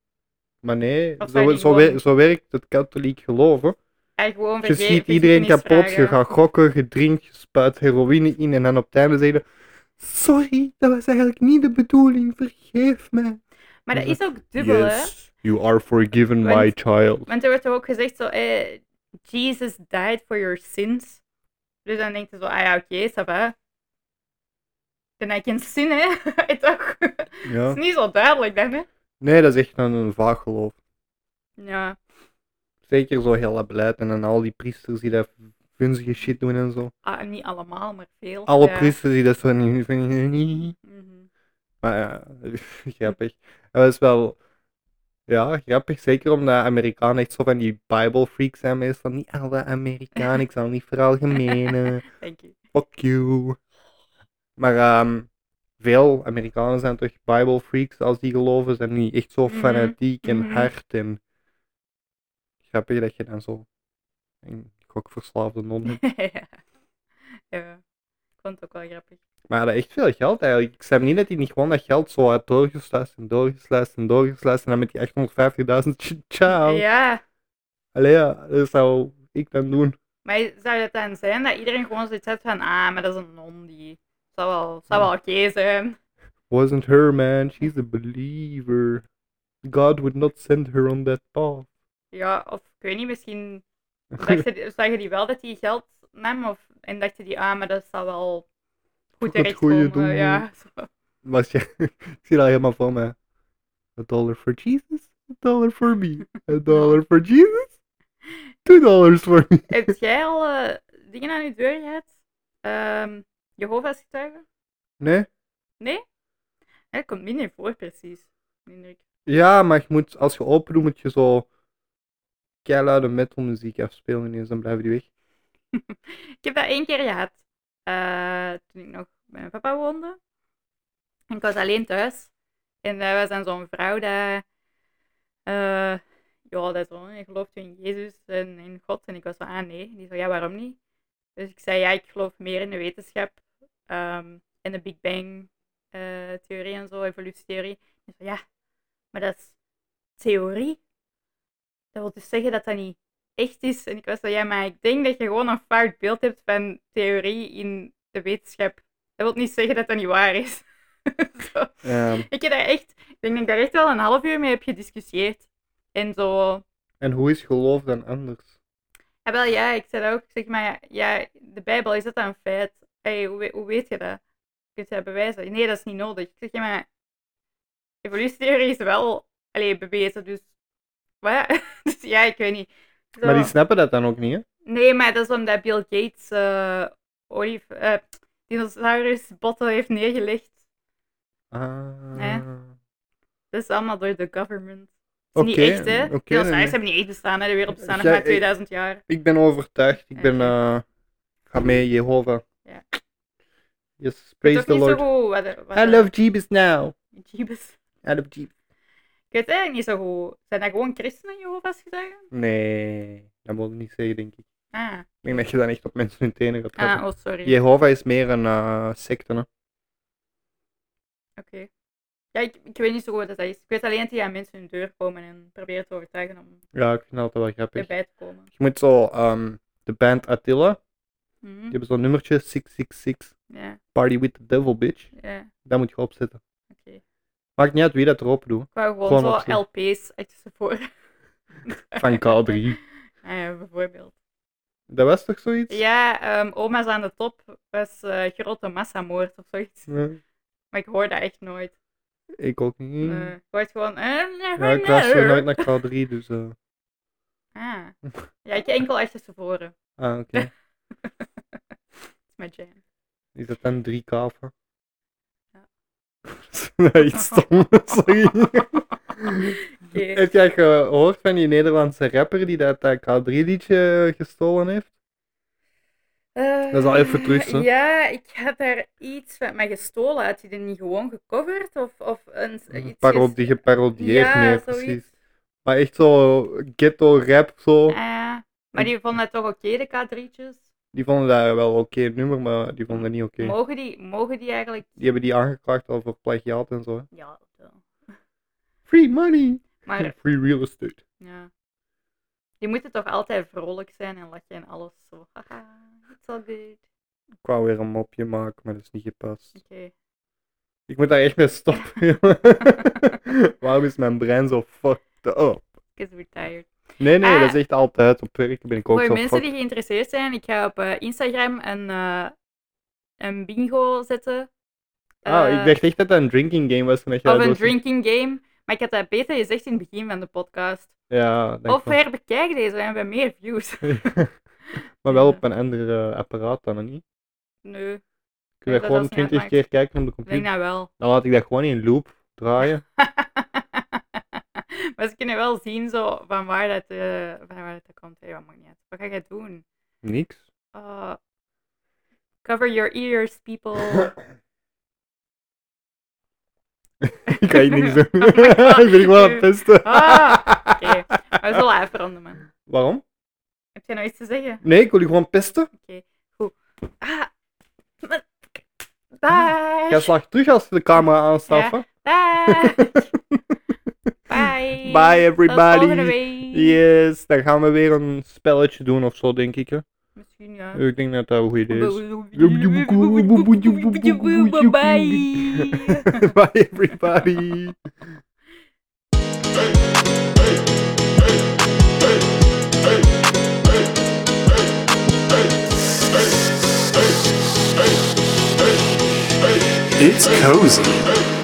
S2: *laughs*
S1: Maar nee,
S2: Of zijn
S1: zo,
S2: die
S1: zo, wer-
S2: gewoon-
S1: zo werkt het katholiek geloof. Hè.
S2: En gewoon
S1: Je
S2: vergeet
S1: schiet iedereen kapot, je gaat gokken, je drinkt, je spuit heroïne in en dan op het einde zeggen Sorry, dat was eigenlijk niet de bedoeling, vergeef mij.
S2: Maar dat is ook dubbel, hè?
S1: you are forgiven,
S2: Want-
S1: my child.
S2: Want er wordt toch ook gezegd zo, eh, Jesus died for your sins. Dus dan denkt je zo, ah ja, oké, ça va. Dan heb je een zin, hè? *laughs* toch? Het
S1: *laughs* Ja.
S2: is niet zo duidelijk dan, hè?
S1: Nee, dat is echt een, een vaag geloof.
S2: Ja.
S1: Zeker zo heel dat beleid en dan al die priesters die dat vunzige shit doen en zo.
S2: Ah, niet allemaal, maar veel.
S1: Alle
S2: ja.
S1: priesters die dat zo niet van-
S2: Mhm.
S1: Maar ja, *laughs* grappig. Dat is wel, ja, grappig. Zeker omdat Amerikanen echt zo van die Bible freaks zijn. Meestal niet alle Amerikanen, ik zal niet
S2: *laughs*
S1: veralgemenen.
S2: Thank you.
S1: Fuck you. Maar ehm, veel Amerikanen zijn toch Bible freaks als die geloven. Zijn niet echt zo
S2: Mhm,
S1: fanatiek en
S2: mhm.
S1: hard. En grappig dat je dan zo een gokverslaafde non hebt.
S2: ja. ja. Ik vond het ook wel grappig.
S1: Maar dat echt veel geld eigenlijk. Ik snap niet dat hij niet gewoon dat geld zo had doorgesluist en doorgesluist en doorgesluist. En dan met die 850.000, *laughs* tj- ciao.
S2: Ja.
S1: Allee, ja, dat zou ik dan doen.
S2: Maar zou dat dan zijn dat iedereen gewoon zoiets heeft van, ah, maar dat is een non die. Zou wel, zou wel oké zijn.
S1: Wasn't her man, she's a believer. God would not send her on that path.
S2: Ja, of ik weet niet, misschien dachten die- zagen die wel dat die geld nam of, en dachten die, ah, maar dat zal wel goed
S1: Toch het
S2: terechtkomen.
S1: goede doen.
S2: ja, zo.
S1: *laughs* Was je, *laughs* ik zie dat helemaal voor me. A dollar for Jesus, a dollar for me. A dollar for Jesus, two dollars for me.
S2: *laughs* Heb jij al eh, dingen aan je deur gehad? Ehm Jehovah's getuigen?
S1: Nee?
S2: Nee? Dat komt minder voor, precies. Minder.
S1: Ja, maar je moet, als je open doet, moet je zo keiluide metalmuziek afspelen ineens, dan blijven die weg.
S2: Ik heb dat één keer gehad. eh, toen ik nog bij mijn papa woonde. En ik was alleen thuis. En daar was dan zo'n vrouw die... eh, ja, dat zo. Ik geloof in Jezus en in God. En ik was van, ah nee. Die zei, ja, waarom niet? Dus ik zei, ja, ik geloof meer in de wetenschap. ehm, en de Big Bang eh, theorie en zo, evolutietheorie. Die zei, ja, maar dat is theorie. Dat wil dus zeggen dat dat niet echt is. En ik was zo, ja, maar ik denk dat je gewoon een fout beeld hebt van theorie in de wetenschap. Dat wil niet zeggen dat dat niet waar is. *laughs* Zo.
S1: Ehm,
S2: Ik heb daar echt, ik denk dat ik daar echt wel een half uur mee heb gediscussieerd. En zo,
S1: en hoe is geloof dan anders?
S2: ja, wel ja, ik zei dat ook. Ik zeg maar, ja, de Bijbel, is dat dan een feit? Hey, hoe, we- hoe weet je dat? Kun je dat bewijzen? Nee, dat is niet nodig. Ik zeg, ja, maar evolutietheorie is wel alleen bewezen, dus wat? *laughs* dus ja, ik weet niet. Zo.
S1: Maar die snappen dat dan ook niet, hè?
S2: Nee, maar dat is omdat Bill Gates eh olie, eh, dinosaurusbotten heeft neergelegd.
S1: Ah.
S2: Dat is allemaal door de government. Het is
S1: Oké,
S2: niet echt, hè?
S1: oké,
S2: Heel saai,
S1: nee, nee. eh,
S2: ze hebben niet echt bestaan, hè? De wereld bestaat nog
S1: Jij-
S2: maar 2000 jaar.
S1: Ik ben overtuigd. Ik ben.
S2: Oké.
S1: eh, ik ga mee, Jehovah.
S2: Ja.
S1: Yes,
S2: Ik weet
S1: praise
S2: ook
S1: the
S2: niet
S1: Lord.
S2: zo goed wat er- wat
S1: I
S2: er-
S1: love Jeebus now.
S2: Jeebus.
S1: I love Jeebus.
S2: Ik weet het eigenlijk niet zo goed. Zijn dat gewoon christenen, Jehovah's getuigen?
S1: Nee, dat moet ik niet zeggen, denk ik.
S2: Ah,
S1: Ik denk dat je dan echt op mensen hun tenen gaat trappen.
S2: ah oh, sorry.
S1: Jehovah is meer een eh, secte, hè.
S2: Oké. Ja, ik, ik weet niet zo goed wat dat is. Ik weet alleen dat die aan mensen hun deur komen en proberen te overtuigen om
S1: Ja, ik vind dat altijd wel grappig.
S2: erbij te komen.
S1: Je moet zo, ehm, de band Attila,
S2: Mhm.
S1: die hebben zo'n nummertje, 666,
S2: Ja,
S1: Party with the Devil, bitch.
S2: ja,
S1: Dat moet je opzetten.
S2: oké. Ik
S1: Maakt niet uit wie dat erop
S2: *laughs*
S1: doet.
S2: wou gewoon,
S1: Gewoon
S2: zo
S1: opzien.
S2: LP's echt voor.
S1: Van K3.
S2: Ah ja, bijvoorbeeld.
S1: Dat was toch zoiets?
S2: Ja, ehm, Oma's aan de top was eh, grote massamoord of zoiets.
S1: Nee,
S2: Maar ik hoor dat echt nooit.
S1: ik ook niet.
S2: Eh, ik hoor het gewoon... eh,
S1: Mm. Ja, ik luister nooit naar K3, dus... eh, *laughs*
S2: Ah. Ja, ik enkel echt tevoren.
S1: Ah, oké.
S2: *laughs* Dat is mijn jam.
S1: Is dat dan 3K of wat? *laughs*
S2: Ja.
S1: nee, iets
S2: *laughs*
S1: stom. *laughs* Sorry.
S2: Oké.
S1: Heb jij gehoord van die Nederlandse rapper die dat eh, K3-liedje gestolen heeft?
S2: Eh,
S1: Dat is al even terug, hè?
S2: Ja, ik had daar iets van... Maar gestolen, had je die niet gewoon gecoverd? Of, of een, iets...
S1: Een
S2: ges-
S1: Parodie, geparodieerd,
S2: Ja,
S1: nee,
S2: zoiets.
S1: precies. Maar echt zo ghetto-rap, zo.
S2: Ah, maar die vonden het toch oké, de K3'tjes?
S1: Die vonden dat wel oké nummer, maar die vonden dat niet oké.
S2: Mogen, die, mogen die eigenlijk...
S1: Die hebben die aangeklaagd al voor plagiaat en zo. hè.
S2: Ja, wel.
S1: Free money!
S2: Maar
S1: *laughs* Free real estate.
S2: ja. Die moeten toch altijd vrolijk zijn en lachen en alles zo. Haha, it's all good.
S1: Ik wou weer een mopje maken, maar dat is niet gepast.
S2: Oké.
S1: Ik moet daar echt mee
S2: *laughs*
S1: stoppen, *laughs* jongen. Waarom is mijn brein zo fucked up?
S2: Because we're tired.
S1: Nee, nee, dat is
S2: Ah.
S1: echt altijd. Op werk ben ik ook
S2: Voor
S1: zo
S2: mensen
S1: fucked
S2: die geïnteresseerd zijn, ik ga op eh, Instagram een, eh, een bingo zetten.
S1: Ah,
S2: Eh,
S1: ik dacht echt dat dat een drinking game was. toen dat je
S2: Of een
S1: dat doorging.
S2: drinking game. Maar ik had dat beter gezegd in het begin van de podcast.
S1: Ja, denk
S2: Of herbekijk deze, we hebben meer views. *laughs*
S1: wel. *laughs* maar wel
S2: Ja.
S1: op een ander eh, apparaat dan, hè, niet?
S2: Nee, ik
S1: Kun
S2: Nee, dat
S1: je dat gewoon
S2: was niet
S1: 20 keer kijken op de
S2: denk
S1: computer?
S2: dat wel. *laughs*
S1: Dan laat ik dat gewoon in loop draaien.
S2: maar ze kunnen wel zien zo, van waar dat, eh, van waar dat komt. Hey, wat mag niet uit. Wat ga jij doen?
S1: Niks.
S2: Oh. cover your ears, people.
S1: *laughs* ik ga hier
S2: *laughs*
S1: niks doen.
S2: Oh my God.
S1: ik ben gewoon aan het testen.
S2: Ah, Oké, maar we zullen afronden, man.
S1: Waarom?
S2: Heb jij nog iets te zeggen?
S1: Nee, ik wil je gewoon pesten.
S2: Ah. Bye.
S1: Jij slaagt terug als je de camera aanstaat. hè? *laughs*
S2: Bye. Bye.
S1: Bye,
S2: Ah, Tot volgende
S1: everybody.
S2: week.
S1: Yes, dan gaan we weer een spelletje doen of zo, denk ik. Hè.
S2: Misschien ja.
S1: Ik denk dat dat een goed idee is.
S2: Bye.
S1: *laughs* Bye,
S2: *laughs*
S1: everybody.
S3: It's cozy.